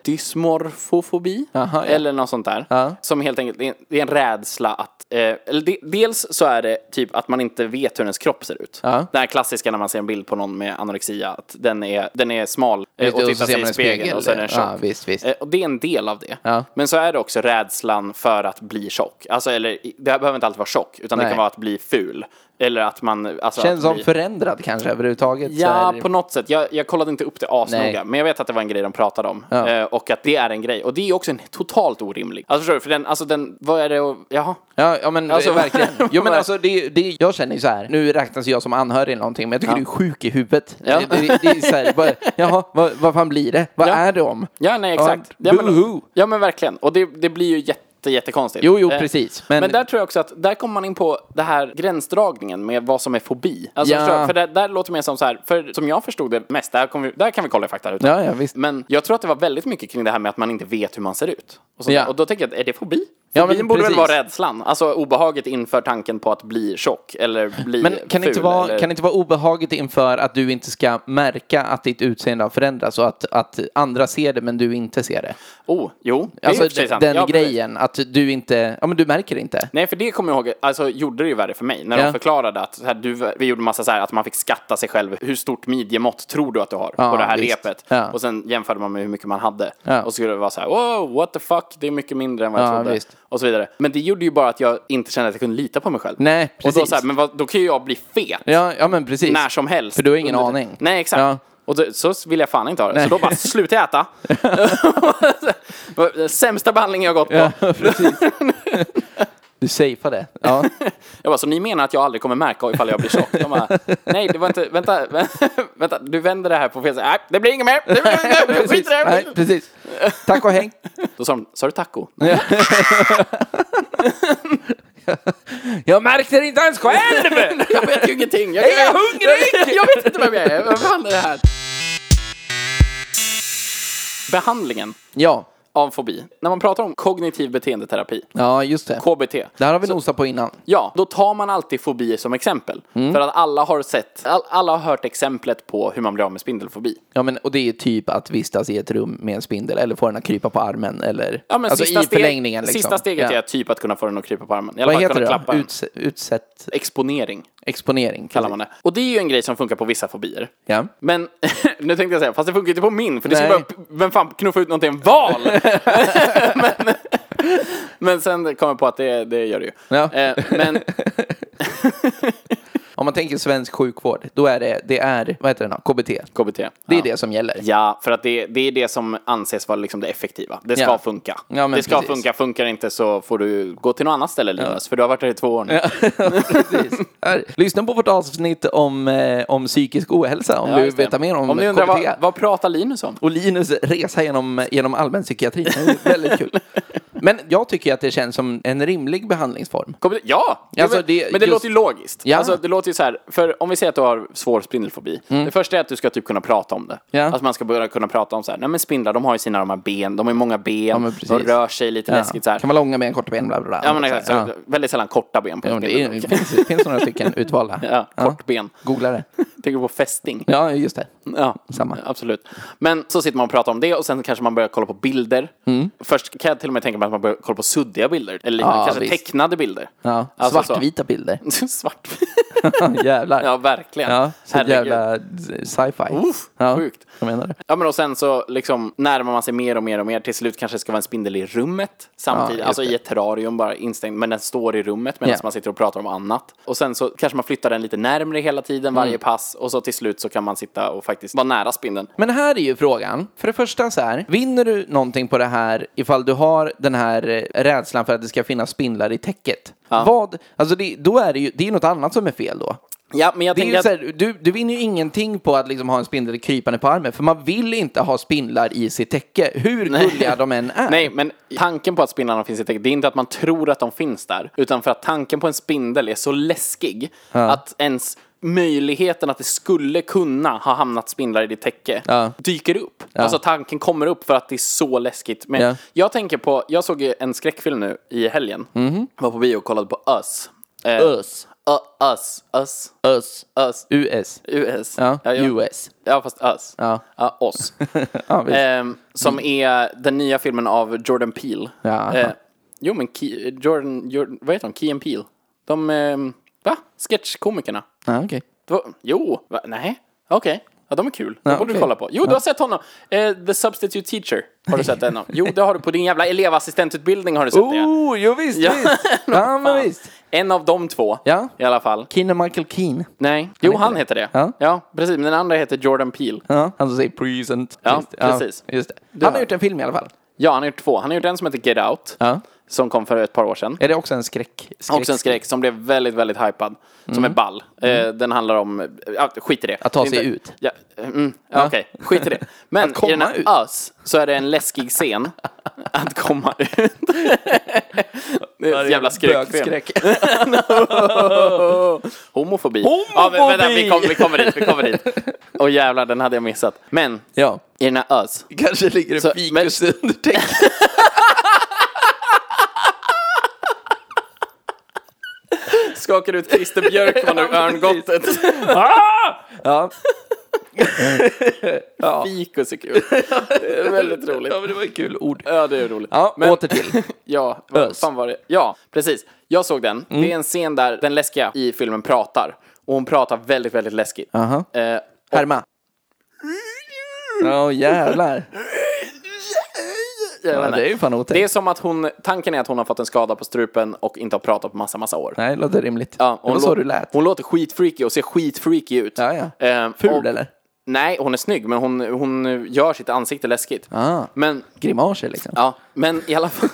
dysmorfofobi. Jaha, ja. Eller något sånt där. Ja. Som helt enkelt, det är en- det är en rädsla att, eh, eller de, dels så är det typ att man inte vet hur ens kropp ser ut. Ja. Det här klassiska när man ser en bild på någon med anorexia, att den är, den är smal eh, Just det, och och så ser tittar sig i man en spegeln spegel, och så är den ja. tjock. Ja, visst, visst. Eh, Och det är en del av det. Ja. Men så är det också rädslan för att bli tjock. Alltså, eller, i- det här behöver inte alltid vara tjock, utan det Nej. kan vara att bli ful. Eller att man... Alltså, Känns att som bli... förändrad kanske överhuvudtaget. så Ja, här- på något sätt. Jag, jag kollade inte upp det Nej. asnoga, men jag vet att det var en grej de pratade om. Ja. Eh, och att det är en grej. Och det är också en totalt orimlig. Alltså förstår du, för den, alltså den, vad är det och, jaha. Ja, ja men eh, Alltså, verkligen. (laughs) vad- Jo, men alltså, det, det, jag känner ju så här, nu räknas jag som anhörig eller någonting, men jag tycker Ja. du är sjuk i huvudet. Ja. Det, det, det är så här, bara, jaha, vad, vad fan blir det? Vad Ja. är det om? Ja, nej exakt. Ja, Ja, boohoo. men, ja men verkligen. Och det, det blir ju jätte, jättekonstigt. Jo, jo, Eh, precis. Men- Men... där tror jag också att, där kommer man in på det här gränsdragningen med vad som är fobi. Alltså, Ja. förstår du? För där, där låter det mer som så här, för som jag förstod det mest, där, kommer vi, där kan vi kolla i faktarutan. Ja, ja, visst. Men jag tror att det var väldigt mycket kring det här med att man inte vet hur man ser ut. Och, sånt Ja. där. och då tänker jag, är det fobi? Ja, Fobin men borde precis. väl vara rädslan, alltså obehaget inför tanken på att bli tjock eller bli Men kan det, inte ful vara, eller... kan det inte vara obehaget inför att du inte ska märka att ditt utseende har förändrats och att, att andra ser det men du inte ser det? Oh, jo. det är i och för sig Alltså sant. den Ja, precis. grejen, att du inte, ja men du märker det inte. Nej, för det kommer jag ihåg, alltså gjorde det ju värre för mig. När Ja. de förklarade att så här, du, vi gjorde massa så här att man fick skatta sig själv. Hur stort midjemått tror du att du har Ja, på det här visst. repet? Ja. Och sen jämförde man med hur mycket man hade. Ja. Och så skulle det vara så här, wow, what the fuck, det är mycket mindre än vad jag Ja, trodde. visst. Och så vidare. Men det gjorde ju bara att jag inte kände att jag kunde lita på mig själv. Nej, Och då precis. så här, men vad, då kan ju jag bli fet Ja, ja men precis. när som helst. För du har ingen Under- aning. Nej, exakt. Ja. Och då, så vill jag fan inte ha det. Så då bara, (laughs) sluta äta. (laughs) Sämsta behandling jag har gått på. (laughs) Ja, precis. (laughs) du safear det. Ja. Jag bara, så ni menar att jag aldrig kommer märka ifall jag blir tjock? De bara, nej, det var inte, vänta, (laughs) vänta, du vänder det här på fel sätt. Nej, det blir inget mer, det blir inget mer, precis. skit i det (laughs) Nej, här. precis. Tack och häng. Då sa de, sa du taco? Jag märkte det inte ens själv! (laughs) Jag vet ju ingenting. Jag, Är jag hungrig? (laughs) Jag vet inte vem jag är. Vad fan är det här? Behandlingen (laughs) Ja, av fobi. När man pratar om kognitiv beteendeterapi, ja just det. KBT, Det här har vi nosat på innan. Ja, då tar man alltid fobier som exempel. Mm. För att alla har sett, all, alla har hört exemplet på hur man blir av med spindelfobi. Ja, men, och det är ju typ att vistas i ett rum med en spindel eller få den att krypa på armen eller Ja, men alltså sista i steg- förlängningen. Liksom. Sista steget Ja. är typ att kunna få den att krypa på armen. I alla Vad fall heter kunna det klappa då? den. Uts- utsätt Exponering exponering kallar man det. Och det är ju en grej som funkar på vissa fobier. Ja. Men (laughs) nu tänkte jag säga, fast det funkar ju inte på min, för det ska Nej. bara, vem fan knuffar ut någonting, en val? (laughs) men, men sen kom jag på att det, det gör det ju. Ja. Eh, (laughs) men Om man tänker svensk sjukvård, då är det, det är, vad heter det då? KBT. KBT. Det är ja. det som gäller. Ja, för att det, det är det som anses vara liksom det effektiva. Det ska Ja. funka. Ja, men det ska precis. funka, funkar det inte så får du gå till något annat ställe Linus, för du har varit där i två år nu. Precis. (laughs) Här. Lyssna på vårt avsnitt om, eh, om psykisk ohälsa om Ja, du vill just det. veta mer om, Om ni KBT. undrar, vad, vad pratar Linus om? och Linus resa genom, genom allmänpsykiatrin. Det är Väldigt kul. (laughs) Men jag tycker att det känns som en rimlig behandlingsform. Kommer det- Ja! Alltså, men det- det, men det just- låter ju logiskt. Ja. Alltså, det låter ju så här, för om vi säger att du har svår spindelfobi. Det första är att du ska typ kunna prata om det. Mm. Ja. Alltså man ska börja kunna prata om så här, nej men spindlar de har ju sina de här ben, de har ju många ben, men de precis. rör sig lite läskigt så här. Kan vara långa ben, korta ben, bla bla bla. Ja men exakt, så, Ja. väldigt sällan korta ben på Ja, en men det, är, spindel. det finns, det finns några stycken utvalda. (laughs) Ja, kort Mm. ben. Googla det. Tänker på fästing. Ja, just det. Ja, Samma. absolut. Men så sitter man och pratar om det och sen kanske man börjar kolla på bilder. Först kan jag till och med tänka mig att man börjar kolla på suddiga bilder. Eller Mm. Ja, liknande. kanske visst. tecknade bilder. Ja. Alltså så. Svartvita bilder. (laughs) Svart. (laughs) Jävlar. ja, Ja, verkligen. så Herregud. jävla sci-fi. Uff, ja. sjukt. Jag menar det. Ja men och sen så liksom närmar man sig mer och mer och mer. Till slut kanske det ska vara en spindel i rummet samtidigt. Ja, just alltså det. i ett terrarium bara instängd. Men den står i rummet medan Ja. man sitter och pratar om annat. Och sen så kanske man flyttar den lite närmre hela tiden varje Mm. pass. Och så till slut så kan man sitta och faktiskt vara nära spindeln. Men här är ju frågan. För det första så här, vinner du någonting på det här ifall du har den här eh, rädslan för att det ska finnas spindlar i täcket? Vad, alltså det, då är det ju, det är något annat som är fel då. Ja, men jag Det är tänker ju att... så här, du, du vinner ju ingenting på att liksom ha en spindel krypande på armen, för man vill inte ha spindlar i sitt täcke, hur gulliga de än är. Nej, men tanken på att spindlarna finns i täcket, det är inte att man tror att de finns där. Utan för att tanken på en spindel är så läskig att ens möjligheten att det skulle kunna ha hamnat spindlar i ditt täcke Ja. dyker upp. Alltså tanken kommer upp för att det är så läskigt. Men Ja. jag tänker på, jag såg ju en skräckfilm nu i helgen. Mhm. Var på bio och kollade på Us. Eh, Us. U- us. Us. Us. Us. US. US. Ja, ja, ja. US. ja fast us. Ja. ja oss. Ja, visst. Ehm, Mm. som är den nya filmen av Jordan Peele. Jaha. Eh, jo, men Key, Jordan, Jordan, vad heter de? Key and Peele. De, ehm, va? Sketchkomikerna. Ja, okej. Det var, jo, va? nej, okej. Ja, de är kul. Det Ja, borde du okej. kolla på. Jo, du har sett honom. Eh, The Substitute Teacher. Har du sett den? av? Jo, det har du på din jävla elevassistentutbildning har du sett det. Oh, jo visst, Ja. visst. (laughs) Ja, men visst. En av de två. Ja. I alla fall. Keen och Michael Keen. Nej. Jo, han heter det. Ja. precis. Men den andra heter Jordan Peele. Ja, (laughs) han som säger present. Ja, Just det. precis. Ja, just det. Han har gjort en film i alla fall. Ja, han har gjort två. Han har gjort en som heter Get Out. Ja. Som kom för ett par år sedan. Är det också en skräck? skräck Också en skräck som blev väldigt, väldigt hypad. Som är ball. Eh, den handlar om, ja, skit i det. Mm. Att ta sig Det är inte- ut. Ja, mm, ja. Okej, (laughs) skit i det. Men Att komma i den här ut. Us så är det en läskig (laughs) scen. Att komma ut. det är en jävla skräckfilm. Bögskräck. (laughs) Homofobi! Homofobi. Ja, men, vänta, vi kommer, vi kommer dit, vi (laughs) kommer dit. Åh jävlar, den hade jag missat. Men, Ja. i den här Us. Kanske ligger det Så- fikus under täcket. (laughs) Skakar ut Christer (laughs) Björkman ur örngottet. Ah! Ja. Fikus (laughs) är kul. Det är väldigt roligt. men det var ett kul ord. Ja, det är roligt. Ja, Men- åter (laughs) till. Ja, vad Ös. Mm. fan var det? Ja, precis. Jag såg den. Det är en scen där den läskiga i filmen pratar. Och hon pratar väldigt, väldigt läskigt. Aha. Eh, Härma. Ja, jävlar. (laughs) jag vet Ja, inte. det är ju fan det är otäckt. som att hon, tanken är att hon har fått en skada på strupen och inte har pratat på massa, massa år. Nej, det låter rimligt. Ja, och det var hon så lå- du lät. Hon låter skitfreaky och ser skitfreaky ut. Ja, ja. Eh, Ful och- eller? Nej, hon är snygg, men hon, hon gör sitt ansikte läskigt. Ah. Men Grimaser liksom. Ja, men i (laughs) alla fall.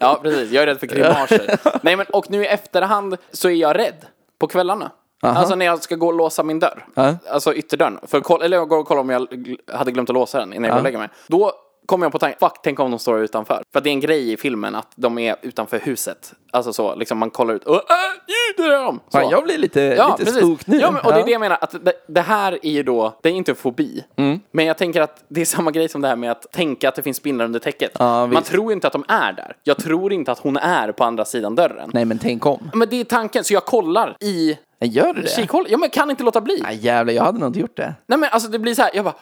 Ja, precis. Jag är rädd för grimaser. Nej, men och nu i efterhand så är jag rädd på kvällarna. Alltså när jag ska gå och låsa min dörr. Ja. Alltså ytterdörren. För, att kolla- eller jag går och kollar om jag gl- hade glömt att låsa den innan jag går och lägger mig. Då kommer jag på tanken, fuck, tänk om de står utanför. För att det är en grej i filmen att de är utanför huset. Alltså så, liksom man kollar ut. Och, äh, där är de! Så. Fan, jag blir lite, lite spook nu. Ja, men, och det är det Ja. jag menar, att det, det här är ju då, det är inte en fobi. Mm. Men jag tänker att det är samma grej som det här med att tänka att det finns spindlar under täcket. Ja, Man visst. tror ju inte att de är där. Jag tror inte att hon är på andra sidan dörren. Nej, men tänk om. Men det är tanken, så jag kollar i Nej, Gör du det? kikhålet. Ja, men kan inte låta bli. Ja, Nej, jävlar, jag hade nog inte gjort det. men alltså det blir så här, jag bara...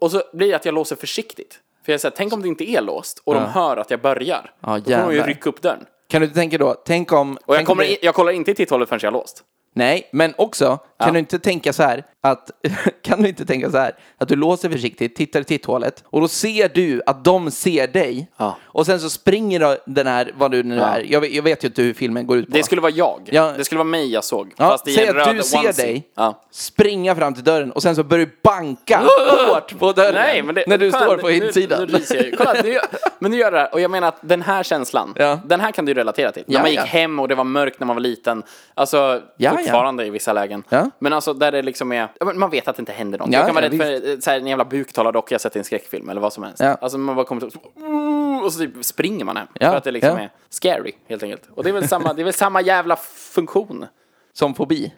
Och så blir det att jag låser försiktigt. För jag säger, tänk om det inte är låst och de hör att jag börjar. Ja, då kommer de ju jävlar. rycka upp dörren. Kan du inte tänka då, tänk om... Och jag, tänk om kommer, det- i- jag kollar inte i titthålet förrän jag har låst. Nej, men också, kan du inte tänka så här att... (laughs) Kan du inte tänka så här att du låser försiktigt, tittar i titthålet och då ser du att de ser dig. Ja. Och sen så springer då den här, vad du nu är, jag, vet- jag vet ju inte hur filmen går ut på. Det skulle vara jag. Ja. Det skulle vara mig jag såg. Ja, fast i säg en att röd du ser onesie. dig. Ja. springa fram till dörren och sen så börjar du (gasps) banka hårt på dörren Nej, men det, när du fan, står på insidan. Nu, nu ryser jag ju. Kolla, nu, gör- men nu gör det här. Och jag menar att den här känslan, Ja. den här kan du ju relatera till. När Ja, man gick ja. hem och det var mörkt när man var liten. Alltså, Ja, fortfarande i vissa lägen. Ja. Men alltså där det liksom är, ja, men man vet att det inte händer något. Ja, jag kan vara ja, rädd för eh, så här, en jävla buktalardocka jag sett i en skräckfilm eller vad som helst. Ja. Alltså man bara kommer till, och så typ springer man hem. Ja, För att det liksom ja. är scary, helt enkelt. Och det är väl samma, det är väl samma jävla funktion. (laughs) Som fobi.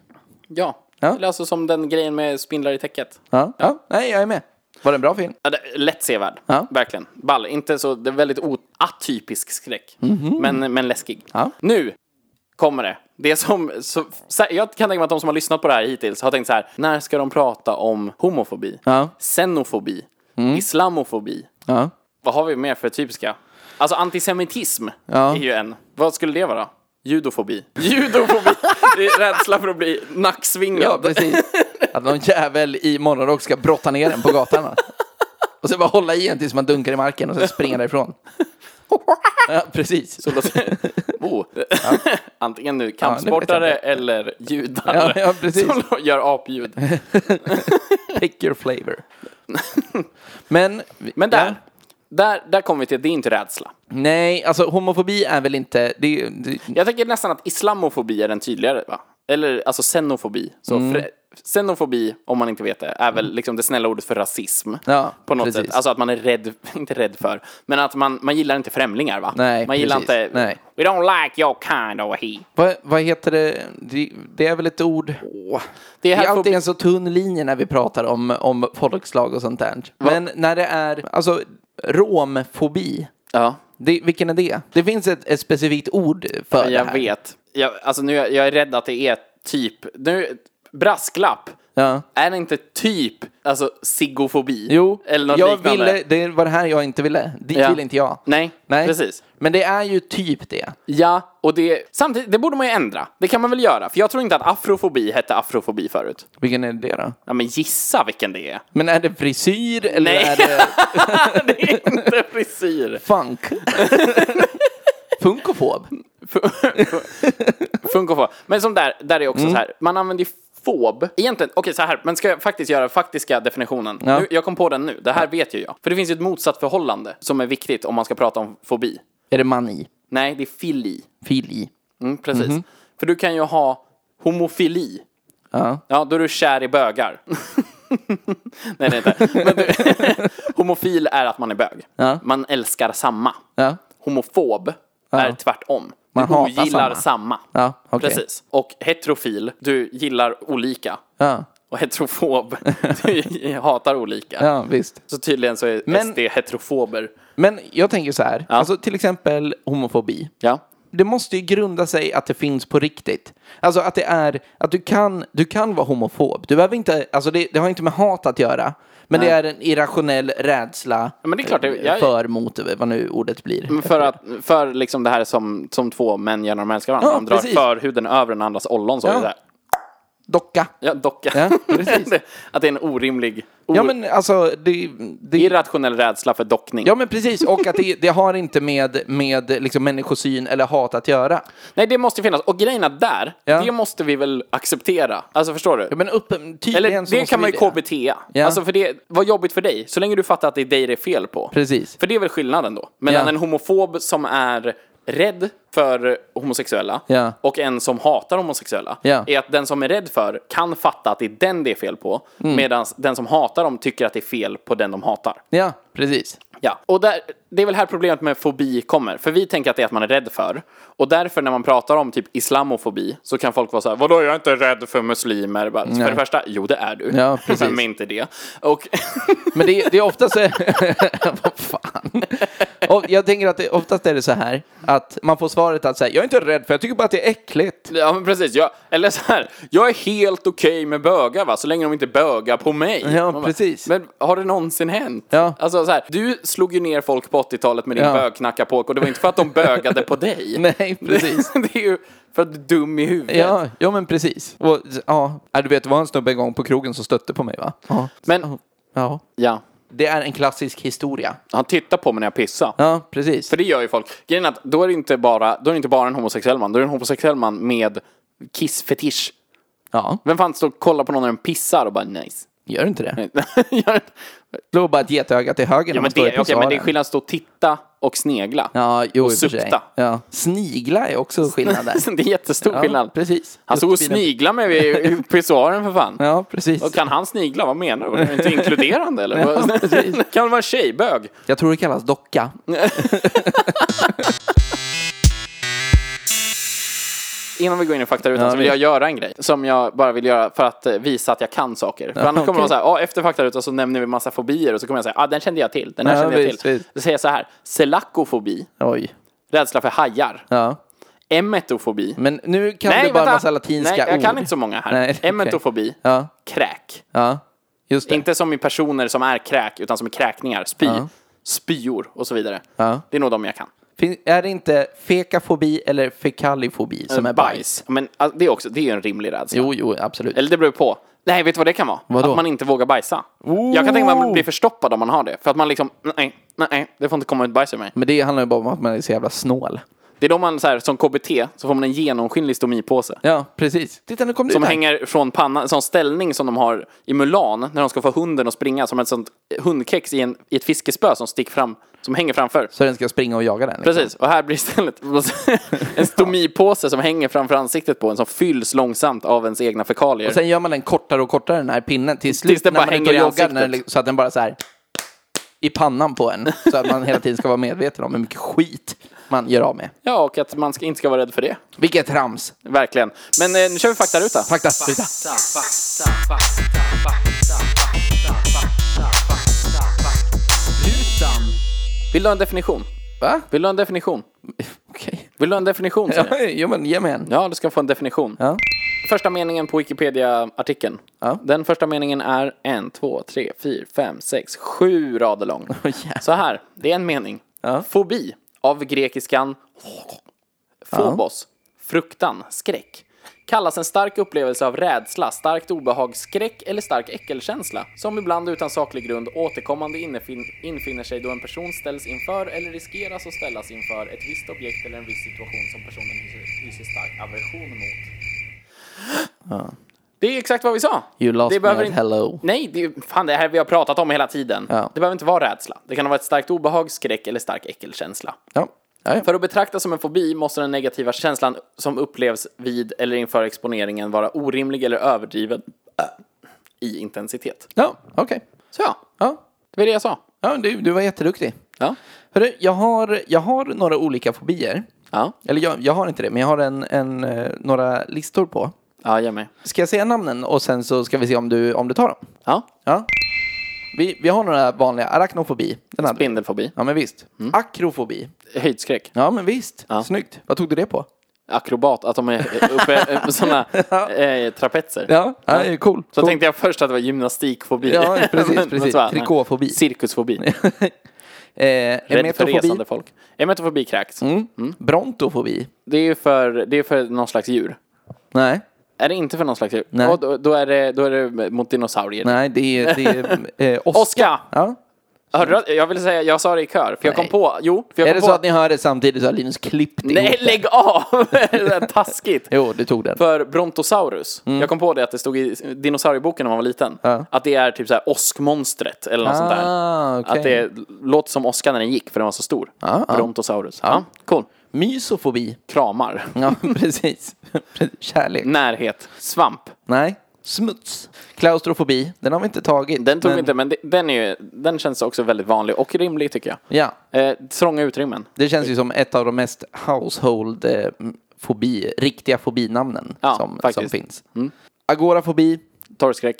Ja. Ja. Eller alltså som den grejen med spindlar i täcket. Ja, ja. nej, jag är med. Var det en bra film? Ja, det- Lätt sevärd, Ja. verkligen. Ball, inte så, det är väldigt o- atypisk skräck. Men, men läskig. Mhm. Ja. Nu kommer det. Det som, så, så, jag kan tänka mig att de som har lyssnat på det här hittills har tänkt så här, när ska de prata om homofobi, Ja. Mm. xenofobi, islamofobi? Ja. Vad har vi mer för typiska? Alltså antisemitism Ja. är ju en. Vad skulle det vara? Judofobi. (laughs) Judofobi! Det är rädsla för att bli Ja, nacksvingad. precis. (laughs) Att någon jävel i morgonrock ska brotta ner den på gatan. Och sen bara hålla i en tills man dunkar i marken och sen springa därifrån. Ja, precis. Oh. (laughs) Antingen nu kampsportare eller judar Ja, ja, precis. som (laughs) då gör apljud. (laughs) Pick your flavor. Men, Men där, Ja. där, där kommer vi till, det är inte rädsla. Nej, alltså homofobi är väl inte... Det, är- det, Jag tänker nästan att islamofobi är den tydligare va? Eller alltså xenofobi. Så Mm. fre- xenofobi, om man inte vet det, är väl liksom det snälla ordet för rasism. Ja, på något precis. sätt. Alltså att man är rädd, (laughs) inte rädd för, men att man, man gillar inte främlingar va? Nej, man gillar precis. inte, Nej. we don't like your kind of he. Vad, vad heter det? Det- Det är väl ett ord? Det Det är är här alltid fobi- en så tunn linje när vi pratar om, om folkslag och sånt där. Men när det är, alltså, romfobi. Ja, Det, vilken är det? Det finns ett, ett specifikt ord för det jag här. vet. Jag, alltså nu, jag är rädd att det är typ, nu, brasklapp. Ja. Är det inte typ, alltså zigofobi? Jo, Eller något jag liknande? ville, det var det här jag inte ville. Dit Ja. vill inte jag. Nej, precis. Men det är ju typ det. Ja, och det, samtidigt, det borde man ju ändra. Det kan man väl göra? För jag tror inte att afrofobi hette afrofobi förut. Vilken är det då? Ja, men gissa (laughs) vilken det är. Men är det frisyr eller Nej. är det det är inte frisyr. funk? (laughs) Funkofob? Funkar få. Men som där, där är också Mm. så här, man använder ju fob. Egentligen, okej så här, men ska jag faktiskt göra faktiska definitionen? Ja. Nu, jag kom på den nu, det här vet ju jag. För det finns ju ett motsatsförhållande som är viktigt om man ska prata om fobi. Är det mani? Nej, det är fili. Fili? Mm, precis. Mhm. För du kan ju ha homofili. Ja. Ja, då är du kär i bögar. (laughs) Nej, det är inte. Men du, (laughs) homofil är att man är bög. Ja. Man älskar samma. Ja. Homofob är tvärtom. Du Man hatar ogillar samma. samma. Ja, okej. Precis. Och heterofil, du gillar olika. Ja. Och heterofob, (laughs) du hatar olika. ja, visst. Så tydligen så är Men- SD heterofober. Men jag tänker så här, alltså till exempel homofobi. Ja. Det måste ju grunda sig att det finns på riktigt. Alltså att det är, att du kan, du kan vara homofob. Du behöver inte, alltså det, det har inte med hat att göra. Men det är en irrationell rädsla Ja, men det är klart, det- eh, jag- Mm. för, mot, vad nu ordet blir. Men För, att, för liksom det här som, som två män gör när de älskar varandra. Ja, de drar precis. för huden över den andras ollon. Så Ja. är det där. Docka. Ja, docka. Ja, (laughs) precis. Det- att det är en orimlig, o- Ja men alltså, det, det, irrationell rädsla för dockning. ja, men precis. Och att det, det har inte med, med liksom människosyn eller hat att göra. Nej, det måste finnas. Och grejerna där, Ja. det måste vi väl acceptera. Alltså förstår du? Ja, men uppen, tydligen Eller så det måste kan man ju vi KBT. Ja. Alltså för det, vad jobbigt för dig. Så länge du fattar att det är dig det är fel på. Precis. För det är väl skillnaden då. Mellan Ja. en homofob som är rädd för homosexuella Ja. och en som hatar homosexuella. Ja. Är att den som är rädd för kan fatta att det är den det är fel på. Mm. Medan den som hatar dem tycker att det är fel på den de hatar. Ja, precis. Ja, och där, det är väl här problemet med fobi kommer. För vi tänker att det är att man är rädd för. Och därför när man pratar om typ islamofobi så kan folk vara så här, vadå jag är inte rädd för muslimer. Bara, För det första, jo det är du. (laughs) Ja, precis. Men inte det. (laughs) Och Men det, det är oftast... (laughs) vad fan? Och jag tänker att det, oftast är det så här att man får svaret att säga, jag är inte rädd för jag tycker bara att det är äckligt. Ja men precis, jag, eller så här, jag är helt okej med bögar va, så länge de inte bögar på mig. Ja, Man precis. Men har det någonsin hänt? Ja. Alltså så här, du slog ju ner folk på 80-talet med din Ja. bögknackarpåk och det var inte (laughs) för att de bögade på dig. Nej, precis. (laughs) Det, det är ju för att du är dum i huvudet. Ja, ja men precis. Och, ja, Ja, du vet, det var en snubbe en gång på krogen som stötte på mig va? Ja. Men, ja. ja, Det är en klassisk historia. han tittar på mig när jag pissar. Ja, precis. För det gör ju folk. Grejen är att då är det inte bara, då är det inte bara en homosexuell man, då är det en homosexuell man med kissfetisch. Ja, Vem fan står och kollar på någon när den pissar och bara nice? (laughs) gör inte det. Gör det- Slå bara ett getöga till höger när Ja, man men, står i det, okay, men det är pissoaren. skillnad att stå och titta och snegla. Ja, jo, och i och för sig. sukta. Ja. Snigla är (laughs) också skillnad där. det är jättestor Ja, skillnad. precis. Han stod Alltså, och Just vid en- snigla med vid- i pissoaren för fan. Ja, precis. Och kan han snigla? Vad menar du? Är det inte inkluderande eller? (laughs) Ja, precis. (laughs) kan det vara en tjejbög? Jag tror det kallas docka. Innan vi går in i faktarutan så vill jag göra en grej som jag bara vill göra för att eh, visa att jag kan saker. För annars kommer man okej. säga, ja efter faktarutan så nämner vi massa fobier och så kommer jag säga, ja ah, den kände jag till, den här Ja, kände jag visst, till. visst. Då säger jag så här, selakofobi, Oj. rädsla för hajar, Ja. emetofobi, Men nu kan du bara massa latinska Nej, jag ord. kan inte så många här. Nej, okej. Emetofobi, Ja, kräk. ja. Just det. Inte som i personer som är kräk, utan som i kräkningar, spy, spyor och så vidare. Ja. Det är nog de jag kan. Fin- är det inte fekafobi eller fekalifobi Eh, som är bajs? Men alltså, det är också, det är ju en rimlig rädsla. Jo, jo, absolut. Eller det beror ju på. Nej, vet du vad det kan vara? Vadå? Att man inte vågar bajsa. Jag kan tänka mig att man blir förstoppad om man har det. För att man liksom, nej, nej, det får inte komma ut bajs ur mig. Men det handlar ju bara om att man är så jävla snål. Det är då man så här, som KBT, så får man en genomskinlig stomipåse. Ja, precis. Titta, nu kom det Som ut här. hänger från pannan, en sån ställning som de har i Mulan när de ska få hunden att springa som ett sånt hundkex i, en, i ett fiskespö som stick fram, som hänger framför. Så den ska springa och jaga den. liksom. Precis, och här blir istället (laughs) en stomipåse som hänger framför ansiktet på en som fylls långsamt av ens egna fekalier. Och sen gör man den kortare och kortare den här pinnen till slut den när bara man är ute och hänger i joggar, ansiktet. när den, liksom- så att den bara så här i pannan på en. Så att man hela tiden ska vara medveten om hur mycket skit man gör av med. Ja, och att man ska, inte ska vara rädd för det. Vilket trams! Verkligen. Men eh, nu kör vi faktaruta. Fakta, sluta. Vill du ha en definition? Va? Vill du ha en definition? Okej. Vill du ha en definition? säger jag. Ja, jo men ge mig en. Ja, du ska få en definition. Ja. Första meningen på Wikipedia-artikeln. Ja. Den första meningen är en, två, tre, fyra, fem, sex, sju rader lång. jävlar. Så här, det är en mening. Ja. Fobi, av grekiskan phobos, fruktan, skräck. Kallas en stark upplevelse av rädsla, starkt obehag, skräck eller stark äckelkänsla som ibland utan saklig grund återkommande innefin- infinner sig då en person ställs inför eller riskeras att ställas inför ett visst objekt eller en viss situation som personen hyser, hyser stark aversion mot. Det är exakt vad vi sa. You lost det behöver me at hello. Nej, det är fan det här vi har pratat om hela tiden. Ja. Det behöver inte vara rädsla. Det kan vara ett starkt obehag, skräck eller stark äckelkänsla. Ja. Ja, ja. För att betraktas som en fobi måste den negativa känslan som upplevs vid eller inför exponeringen vara orimlig eller överdriven äh, i intensitet. ja okej. Så ja, Ja. det var det jag sa. Ja, du, du var jätteduktig. Ja. Hörru, jag har, jag har några olika fobier. Ja, Eller jag, jag har inte det, men jag har en, en, eh, några listor på. ja jag med. Ska jag säga namnen och sen så ska vi se om du, om du tar dem? Ja, Ja. Vi, vi har några vanliga. Arachnofobi. Den hade vi. spindelfobi. Ja, men visst. Akrofobi. Höjdskräck. Ja, men visst. Mm. Ja. Snyggt. Vad tog du det på? Akrobat, att de är uppe (laughs) på sådana eh, trapetser. Ja, ja. det är cool. Så cool. tänkte jag först att det var gymnastikfobi. (laughs) Ja, precis, Men- men precis. så bara, nej. Trikåfobi. Cirkusfobi. (laughs) eh, Rädd för resande emetofobi. folk. Emetofobi kräks. Mm. Brontofobi. Det är ju för, det är för någon slags djur. Nej, Är det inte för någon slags djur? Nej. Och då, då, är det, då är det mot dinosaurier. nej, det är, det är (laughs) eh, oska. Oskar! Ja. Hörde du? Jag ville säga, jag sa det i kör, för jag Nej. kom på, jo, för jag Är kom det på. så att ni hör det samtidigt så har Linus klippt Nej, ihop det. lägg av! (laughs) Det är Taskigt. Jo, du tog den. För Brontosaurus, jag kom på det att det stod i dinosaurieboken när man var liten, Mm. Ja. att det är typ så här åskmonstret eller något sånt där. Ah, okej. Att det låter som åskan när den gick, för den var så stor. Ja, ja. Mm. Brontosaurus. Ja, cool. Mysofobi. Kramar. Ja, (laughs) precis. Kärlek. Mm. Närhet. Svamp. Nej. Smuts. Klaustrofobi. Den har vi inte tagit. Den tog men- vi inte, men det- den, är ju, den känns också väldigt vanlig och rimlig tycker jag. Ja, Eh, trånga utrymmen. Det känns ju som ett av de mest household eh, fobi, riktiga fobinamnen Ja, som, som faktiskt. Mm. finns. Agorafobi, Torrskräck.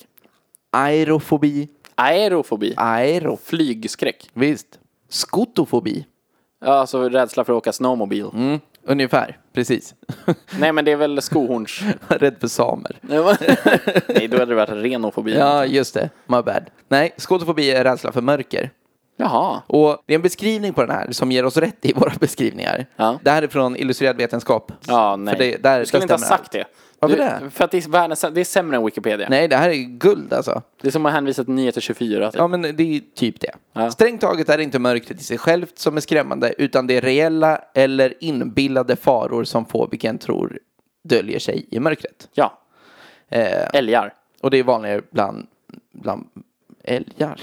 aerofobi, Aerofobi. aero, Flygskräck. visst. Skotofobi, Ja, alltså rädsla för att åka snowmobil. mm, ungefär, precis. (laughs) Nej, men det är väl skohorns... Rädd för samer. (laughs) Nej, då hade det varit renofobi. Ja, just det. My bad. Nej, skotofobi är rädsla för mörker. Jaha. Och det är en beskrivning på den här som ger oss rätt i våra (laughs) beskrivningar. Ja. Det här är från Illustrerad Vetenskap. Ja, nej. För det, där, du skulle där inte ha stämmer sagt allt. det. Varför du, det? För att det är, världens, det är sämre än Wikipedia. Nej, det här är guld alltså. Det är som att hänvisa till Nyheter 24. Typ. Ja, men det är typ det. Ja. Strängt taget är det inte mörkret i sig självt som är skrämmande, utan det är reella eller inbillade faror som fobikern tror döljer sig i mörkret. Ja. Eh, Älgar. och det är vanligare bland, bland älgar.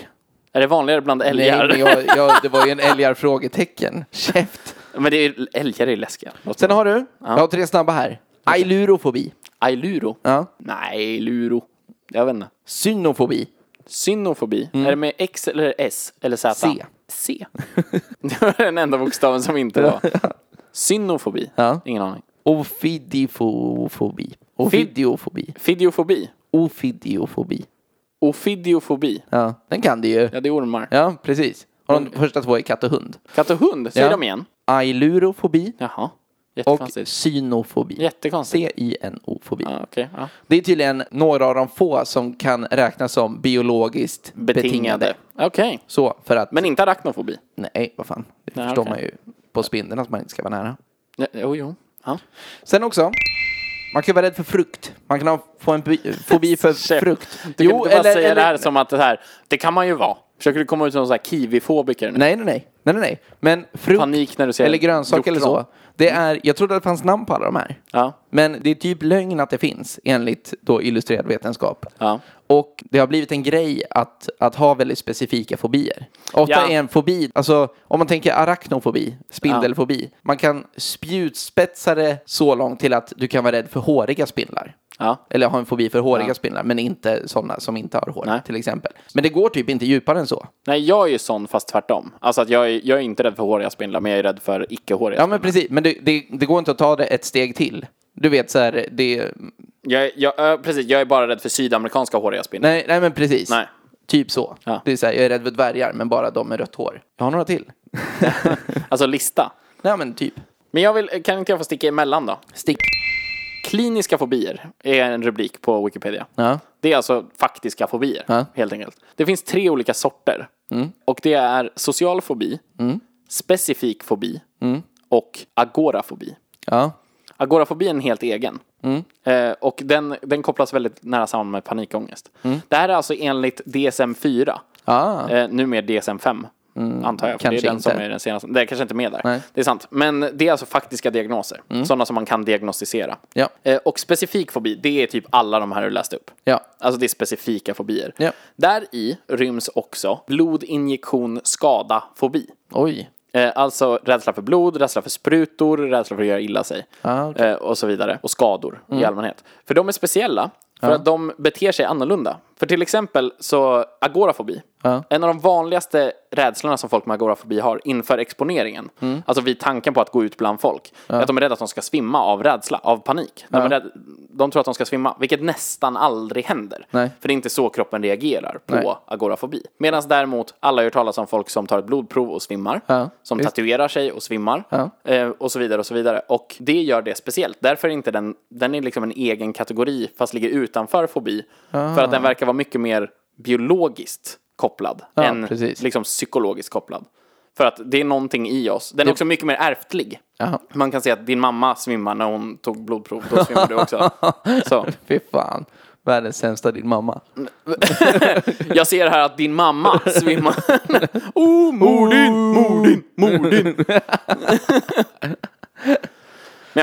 Är det vanligare bland älgar? men jag, jag, det var ju en (laughs) älgar-frågetecken. Käft! men det är, älgar är ju läskiga. Sen har du, jag har tre snabba här. Ailurofobi. Ailuro? Ja. Nej, luro. Jag vet inte. Synofobi. Synofobi? Är det med X eller S eller Z? Mm. C. C. (laughs) Det var den enda bokstaven som (laughs) inte var. Synofobi? Ja. Ingen aning. Ofidiofobi. Ofidiofobi. Fidiofobi? Ofidiofobi. Ofidiofobi? Ja, den kan du ju. Ja, det är ormar. Ja, precis. Och de första två är katt och hund. Katt och hund, säger Ja. de igen. Ailurofobi Jaha. och Jättekonstigt. synofobi. Jättekonstigt. C-I-N-O-fobi. Ja, okej, ja. Det är tydligen några av de få som kan räknas som biologiskt betingade. Betingade. Okej. Så, för att... Men inte arachnofobi? Nej, vad fan. Det Nej, förstår okej. man ju på spindeln att man inte ska vara nära. Ja, Jo, jo. Ja. Sen också. Man kan vara rädd för frukt. Man kan (laughs) ha, få en bi- fobi för Shit. frukt. Du kan inte bara säga det här som att det här, det kan man ju vara. Försöker du komma ut som någon sån här kiwifobiker nu? Nej, nej, nej. nej, nej, nej. Men frukt Panik när du ser eller grönsaker eller så. hjortron. Det är, jag trodde att det fanns namn på alla de här. Ja. Men det är typ lögn att det finns enligt då illustrerad vetenskap. Ja. Och det har blivit en grej att, att ha väldigt specifika fobier. Ofta Ja. är en fobi, alltså om man tänker arachnofobi, spindelfobi. Man kan spjutspetsa det så långt till att du kan vara rädd för håriga spindlar. Ja. Eller ha en fobi för håriga Ja. spindlar, men inte sådana som inte har hår Nej. till exempel. Men det går typ inte djupare än så. Nej, jag är ju sån fast tvärtom. Alltså att jag är, jag är inte rädd för håriga spindlar, men jag är rädd för icke-håriga Ja men precis, men det, det, det går inte att ta det ett steg till. Du vet så här, det... Jag, är- jag, ja, precis, jag är bara rädd för sydamerikanska håriga spindlar. Nej, nej men precis. Nej. Typ så. Ja. Det är så här, jag är rädd för dvärgar, men bara de med rött hår. Jag har några (laughs) till. Alltså lista. nej men typ. Men jag vill, kan inte jag få sticka emellan då? Stick. Kliniska fobier är en rubrik på Wikipedia. Ja. Det är alltså faktiska fobier, Ja. Mm. helt enkelt. Det finns tre olika sorter. Och det är social fobi, specifik fobi Mm. och agorafobi. Ja. Agorafobi är en helt egen. Mm. Eh, och den, den kopplas väldigt nära samman med panikångest. Det här är alltså enligt DSM-4. Mm. Ah. Mm, Eh, numera DSM-5. Antar jag, för det är Kanske den som inte. är den senaste. Det är kanske inte med där. Nej. Mm. Det är sant. Men det är alltså faktiska diagnoser. Sådana som man kan diagnostisera. Ja. Eh, och specifik fobi, det är typ alla de här du läste upp. Ja. Alltså det är specifika fobier. Ja. Där i ryms också blodinjektion skada-fobi. Oj. Eh, alltså rädsla för blod, rädsla för sprutor, rädsla för att göra illa sig. Ah, okej. Mm. eh, och så vidare. Och skador i allmänhet. För de är speciella. För att de beter sig annorlunda. För till exempel så agorafobi. En av de vanligaste rädslorna som folk med agorafobi har inför exponeringen. Mm. Alltså vid tanken på att gå ut bland folk. Är att de är rädda att de ska svimma av rädsla, av panik. De, är rädda, de tror att de ska svimma, vilket nästan aldrig händer. Nej. För det är inte så kroppen reagerar på Nej. agorafobi. Medan däremot alla har hört talas om folk som tar ett blodprov och svimmar. Ja, som visst. tatuerar sig och svimmar. Ja. Eh, och så vidare och så vidare. Och det gör det speciellt. Därför är inte den, den är liksom en egen kategori fast ligger utanför fobi. För att den verkar vara mycket mer biologiskt kopplad. Ah. Ja, än precis. liksom psykologiskt kopplad. För att det är någonting i oss. Den är också mycket mer ärftlig. Jaha. Man kan se att din mamma svimmar när hon tog blodprov. Då svimmar (laughs) du också. Så. Fy fan. Världens sämsta din mamma. Jag ser här att din mamma (laughs) svimmar. oh, Mordin, Mordin, Mordin. Men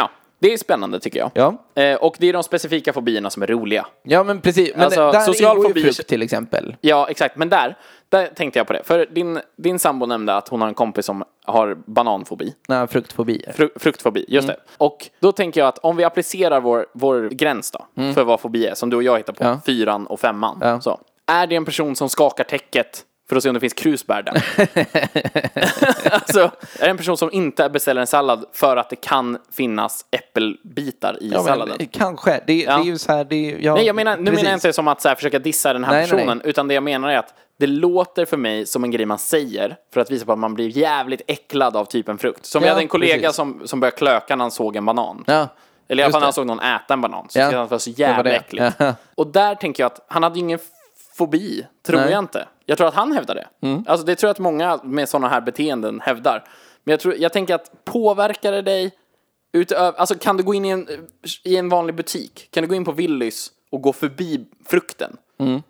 ja, det är spännande tycker jag. Ja. Eh, och det är de specifika fobierna som är roliga. Ja men precis. Men Alltså, där social ingår ju fobi- frukt till exempel. Ja, exakt. Men där, där tänkte jag på det. För din, din sambo nämnde att hon har en kompis som har bananfobi. Nej, fruktfobier. Fru, fruktfobi, just Mm. det. Och då tänker jag att om vi applicerar vår, vår gräns då, för vad fobi är, som du och jag hittar på, Mm. Ja. fyran och femman. Ja. Så. Är det en person som skakar täcket för att se om det finns (laughs) krusbär där? alltså, är det en person som inte beställer en sallad för att det kan finnas äppelbitar i Ja, men, salladen? kanske. Det, det är ju så här, det är, ja, Nej, jag menar, nu menar jag precis. inte som att så här, försöka dissa den här Nej, nej, personen, utan det jag menar är att det låter för mig som en grej man säger för att visa på att man blir jävligt äcklad av typ en frukt. Som vi Ja, hade en kollega precis. som, som började klöka när han såg en banan. Ja. Eller i alla Just fall när det. han såg någon äta en banan. Så Ja. tyckte han att det var så Det var jävla det. äckligt. Ja. (laughs) Och där tänker jag att han hade ju ingen fobi, tror Nej. Mm. jag inte. Jag tror att han hävdar det. Alltså det tror jag att många med sådana här beteenden hävdar. Men jag, tror, jag tänker att påverkar det dig utöver, alltså kan du gå in i en, i en vanlig butik? Kan du gå in på Willys och gå förbi frukten?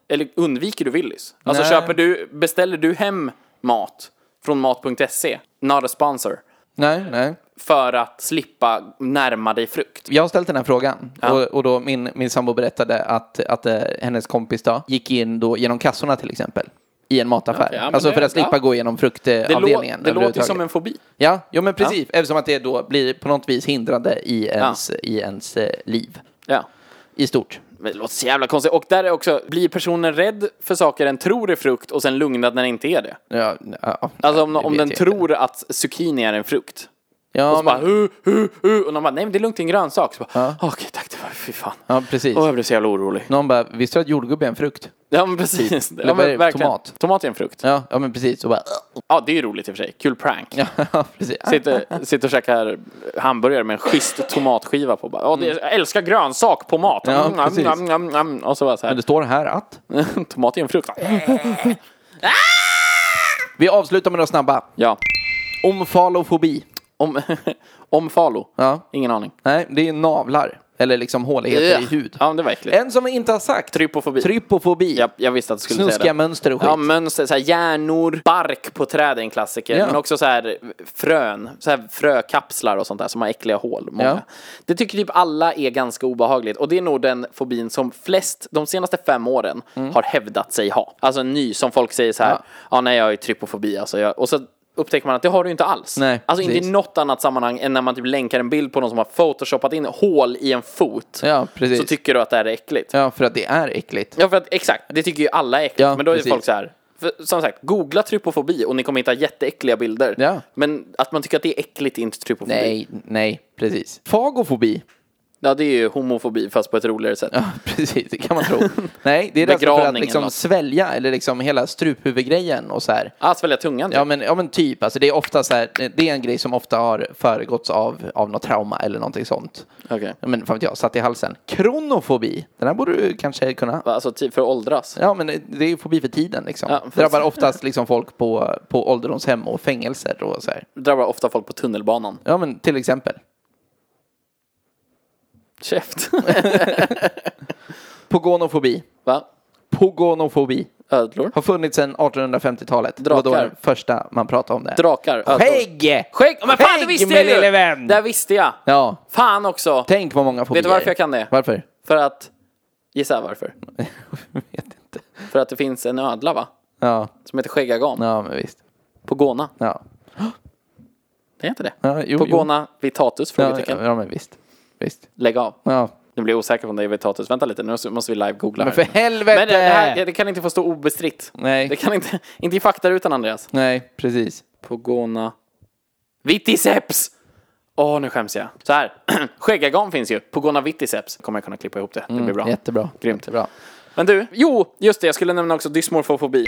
Eller undviker du Willys? Alltså Mm. Nej. köper du, beställer du hem mat från mat.se, not a sponsor, Nej, nej. för att slippa närma dig frukt? Jag har ställt den här frågan Ja. och, och då min, min sambo berättade att, att eh, hennes kompis då gick in då genom kassorna till exempel i en mataffär. Ja, men alltså det- för att slippa ja. gå igenom Det, lå- fruktavdelningen. det låter ju överhuvudtaget. som en fobi. Ja, jo, men precis. Eftersom att det då blir på något vis hindrande i ens, i ens eh, liv. Ja. I stort. Men det låter så jävla konstigt. Och där är också, blir personen rädd för saker den tror är frukt och sen lugnad när det inte är det? Ja, ja, Alltså om, det om vet den jag inte. tror att zucchini är en frukt. Ja, och så bara men, hu, hu, hu. Och någon bara, nej men det är lugnt, det är en grönsak. Så bara, okej tack, det var fy fan. ja precis. Åh, jag blev så jävla orolig. Någon bara, visste du att jordgubbe är en frukt? Ja men precis. Ja, vad är men, det? verkligen. Tomat? Tomat är en frukt. Ja, Ja, ja men precis. Och bara, det är ju roligt i och för sig. Kul prank. (laughs) ja, precis. Sitter, sitter och käkar hamburgare med en schysst tomatskiva på. Bara, "Åh, det, jag älskar grönsak på mat. Ja, Mm, mm, precis. mm, mm, mm. Och så bara så Men det här. står här att. (laughs) Tomat är en frukt. Vi avslutar med några snabba. Ja. Omfalofobi. Om, (laughs) om Falo? Ja. Ingen aning. Nej, det är navlar. Eller liksom håligheter i hud. Ja, men det var äckligt. En som vi inte har sagt. Trypofobi. Trypofobi. Ja, jag visste att du skulle säga Snuskiga det. mönster och skit. Ja, mönster, så här hjärnor, bark på träd är en klassiker. Ja. Men också så här frön, så här frökapslar och sånt där som har äckliga hål. Många. Ja. Det tycker typ alla är ganska obehagligt. Och det är nog den fobin som flest, de senaste fem åren, har hävdat sig ha. Alltså en ny som folk säger så här, ja, Mm. Ja. nej jag har ju trypofobi alltså. Jag, och så upptäcker man att det har du ju inte alls. Nej, alltså inte i precis. något annat sammanhang än när man typ länkar en bild på någon som har photoshopat in hål i en fot. Ja, precis. Så tycker du att det här är äckligt. ja, för att det är äckligt. Ja, för att, exakt. Det tycker ju alla är äckligt. Ja, men då är det precis. folk så här. För, som sagt, googla trypofobi och ni kommer hitta jätteäckliga bilder. Ja. Men att man tycker att det är äckligt är inte trypofobi. Nej, nej, precis. Fagofobi. Ja, det är ju homofobi fast på ett roligare sätt. Ja, (laughs) precis. Det kan man tro. nej, det är rädsla för att Begravning eller liksom något. svälja eller liksom hela struphuvudgrejen och så här. Ah, svälja tungan. Ja Ja, men, ja men typ, alltså det är ofta så här, det är en grej som ofta har föregåtts av, av något trauma eller någonting sånt. Okej. Ja, Men fan vet jag, satt i halsen. Kronofobi, den här borde du kanske kunna. Alltså tid för att åldras. Ja men det är ju fobi för tiden liksom. Ja, precis. Drabbar oftast liksom folk på, på ålderdomshem och fängelser och så här. Det drabbar ofta folk på tunnelbanan. Ja men till exempel. (laughs) Käft. Pogonofobi. Va? Pogonofobi. Ödlor? Har funnits sedan 1850-talet. Det var då Drakar. den första man pratade om det. här. Drakar? Ödlor. Skägg! Skägg! Men fan, det Skägg, visste min jag ju! lille vän! Det här visste jag! Ja, Fan också! tänk vad många fobier. Vet du varför jag kan det? Varför? (laughs) För att... Gissa varför? jag vet inte. För att det finns en ödla, va? Ja, Som heter skäggagan. ja men visst. På Gåna. Ja. Det heter det. Ja, jo, På jo. Gåna Vitatus? Ja, Frågetecken. ja, men visst. Visst. Lägg av. Ja. Nu blir jag osäker på om det är Vitatus. Vänta lite, nu måste- måste vi live-googla. Men här. för helvete! Men eh, det, det, här, det kan inte få stå obestritt. Nej. Det kan inte, inte i faktarutan Andreas. Nej, precis. Pogona. Viticeps! Åh, nu skäms jag. Så här. (clears throat) Skäggagan finns ju. Pogona viticeps. Kommer jag kunna klippa ihop det. Det blir bra. Mm, Jättebra. Grymt. Jättebra. Men du, jo, just det. Jag skulle nämna också dysmorfofobi.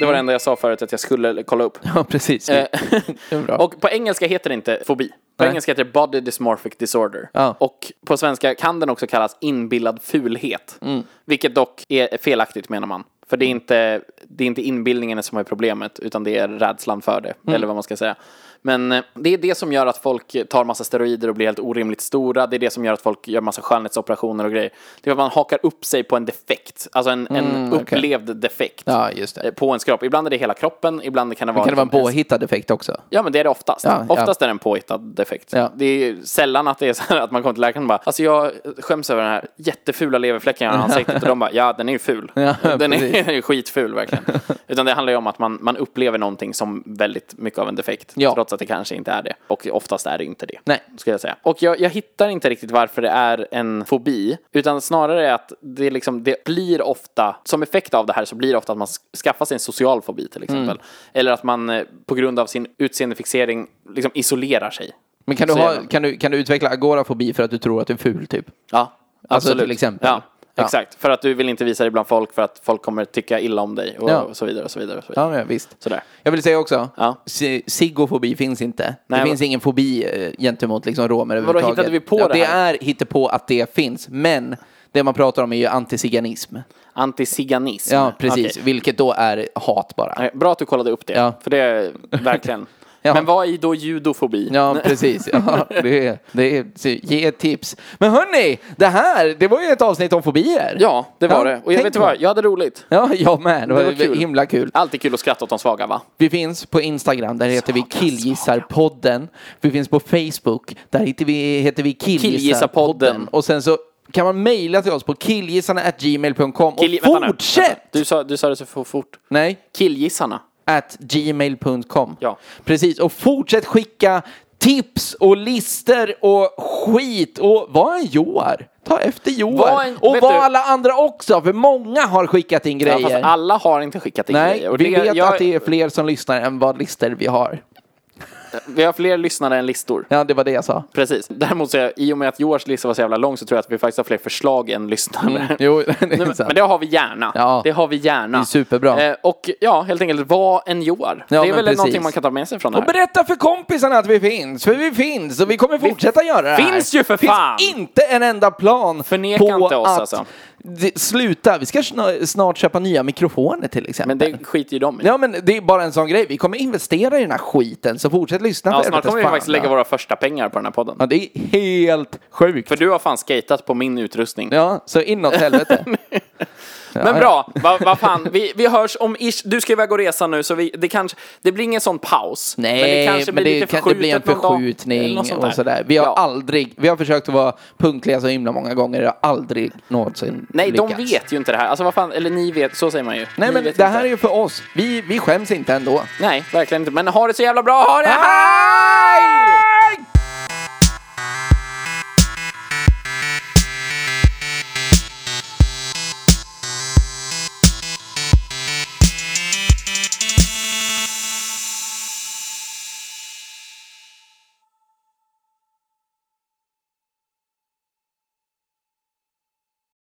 Det var det enda jag sa förut att jag skulle kolla upp. (laughs) Ja, precis. Eh, (laughs) Det är bra. och på engelska heter det inte fobi. På Nej. engelska heter det body dysmorphic disorder. Ja. Och på svenska kan den också kallas inbillad fulhet. Mm. Vilket dock är felaktigt menar man. För det är, inte, det är inte inbildningen som är problemet, utan det är rädslan för det. Mm. Eller vad man ska säga. Men eh, det är det som gör att folk tar massa steroider och blir helt orimligt stora. Det är det som gör att folk gör massa skönhetsoperationer och grejer. Det är att man hakar upp sig på en defekt. Alltså en, en Mm, okej. upplevd defekt. Ja, just det. eh, På ens kropp. Ibland är det hela kroppen, ibland kan det vara... Kan det vara en liksom en påhittad effekt också? Ja men det är det oftast. Ja, ja. oftast är det en påhittad defekt. Ja. Det är ju sällan att det är så här att man kommer till läkaren och bara Alltså jag skäms över den här jättefula leverfläcken jag har i ansiktet och de bara Ja den är ju ful. Ja, den precis. är ju skitful verkligen. Utan det handlar ju om att man, man upplever någonting som väldigt mycket av en defekt. Ja. Trots att det kanske inte är det. Och oftast är det inte det. Nej. Skulle jag säga. Och jag, jag hittar inte riktigt varför det är en fobi. Utan snarare är att det, är liksom, det blir ofta, som effekt av det här så blir det ofta att man sk- skaffar sig en social fobi till exempel. Mm. Eller att man eh, på grund av sin utseendefixering liksom isolerar sig. Men kan du, Så ha, jävla- kan, du, kan du utveckla agorafobi för att du tror att du är ful, typ? Ja, Alltså, till exempel. Ja. Ja. Exakt, för att du vill inte visa dig bland folk för att folk kommer tycka illa om dig och, Ja. och så vidare och så vidare. Och så vidare. Ja, ja visst. Sådär. Jag vill säga också, Ja. si- siggofobi finns inte. Nej, det finns men- ingen fobi eh, gentemot liksom romer överhuvudtaget. hittade vi på ja, det det här? är hittepå att det finns, men det man pratar om är ju antiziganism. Antiziganism. Ja, precis. Okej. Vilket då är hat bara. Nej, Bra att du kollade upp det, Ja. för det är verkligen. (laughs) Ja. Men vad är då judofobi? Ja, precis. (laughs) Ja, det är, det är, så ge ett tips. Men hörni, det här, det var ju ett avsnitt om fobier. Ja, det var Ja, det. Och jag tänk vet på vad, det. jag hade roligt. Ja, jag med. Det var, Det var kul. himla kul. Alltid kul att skratta åt de svaga va? Vi finns på Instagram, där heter vi Svaga, Killgissarpodden. Vi finns på Facebook, där heter vi, heter vi Killgissarpodden. Killgissarpodden. Och sen så kan man mejla till oss på killgissarna.gmail.com och Kill- vänta nu. fortsätt! Du sa, du sa det så for- fort. Nej, Killgissarna. at gmail.com. Ja. Precis, och fortsätt skicka tips och lister och skit och var en Joar. Ta efter Var Joar. en- och vet var du- alla andra också, för många har skickat in Ja, grejer. fast alla har inte skickat in Nej, grejer. Och vi det- vet jag, att det är fler som lyssnar än vad lister vi har. Vi har fler lyssnare än listor. Ja, det var det jag sa. Precis. Däremot så, är- i och med att Joars lista var så jävla lång så tror jag att vi faktiskt har fler förslag än lyssnare. Mm. Jo, (laughs) det är (laughs) Nej, men- sant. Men det har vi gärna. Ja. Det har vi gärna. Det är superbra. Eh, och ja, helt enkelt, var en Joar. Ja, det är men väl precis. någonting man kan ta med sig från det Och här. berätta för kompisarna att vi finns, för vi finns och vi kommer fortsätta göra det här. finns ju för fan! finns inte en enda plan Förneka på inte oss, att alltså. det, sluta, vi ska sna- snart köpa nya mikrofoner till exempel. Men det skiter ju de i. Ja men det är bara en sån grej, vi kommer investera i den här skiten så fortsätt lyssna Ja, på snart kommer vi Helvetes faktiskt fan, lägga ja. våra första pengar på den här podden. Ja det är helt sjukt. För du har fan skatat på min utrustning. Ja, så inåt (laughs) helvete. Men bra, vad va fan, vi, vi hörs om ish. Du ska iväg och resa nu så vi, det kanske, det blir ingen sån paus. Nej, men det, kanske blir kan, det blir en förskjutet någon dag, eller förskjutning något sånt och sådär. Vi har aldrig, vi har försökt att vara punktliga så himla många gånger, det har aldrig någonsin Nej, de lyckats. vet ju inte det här. Alltså vad fan, eller ni vet, så säger man ju. Nej men ni vet det inte. här är ju för oss, vi, vi skäms inte ändå. Nej, verkligen inte. Men ha det så jävla bra, ha det!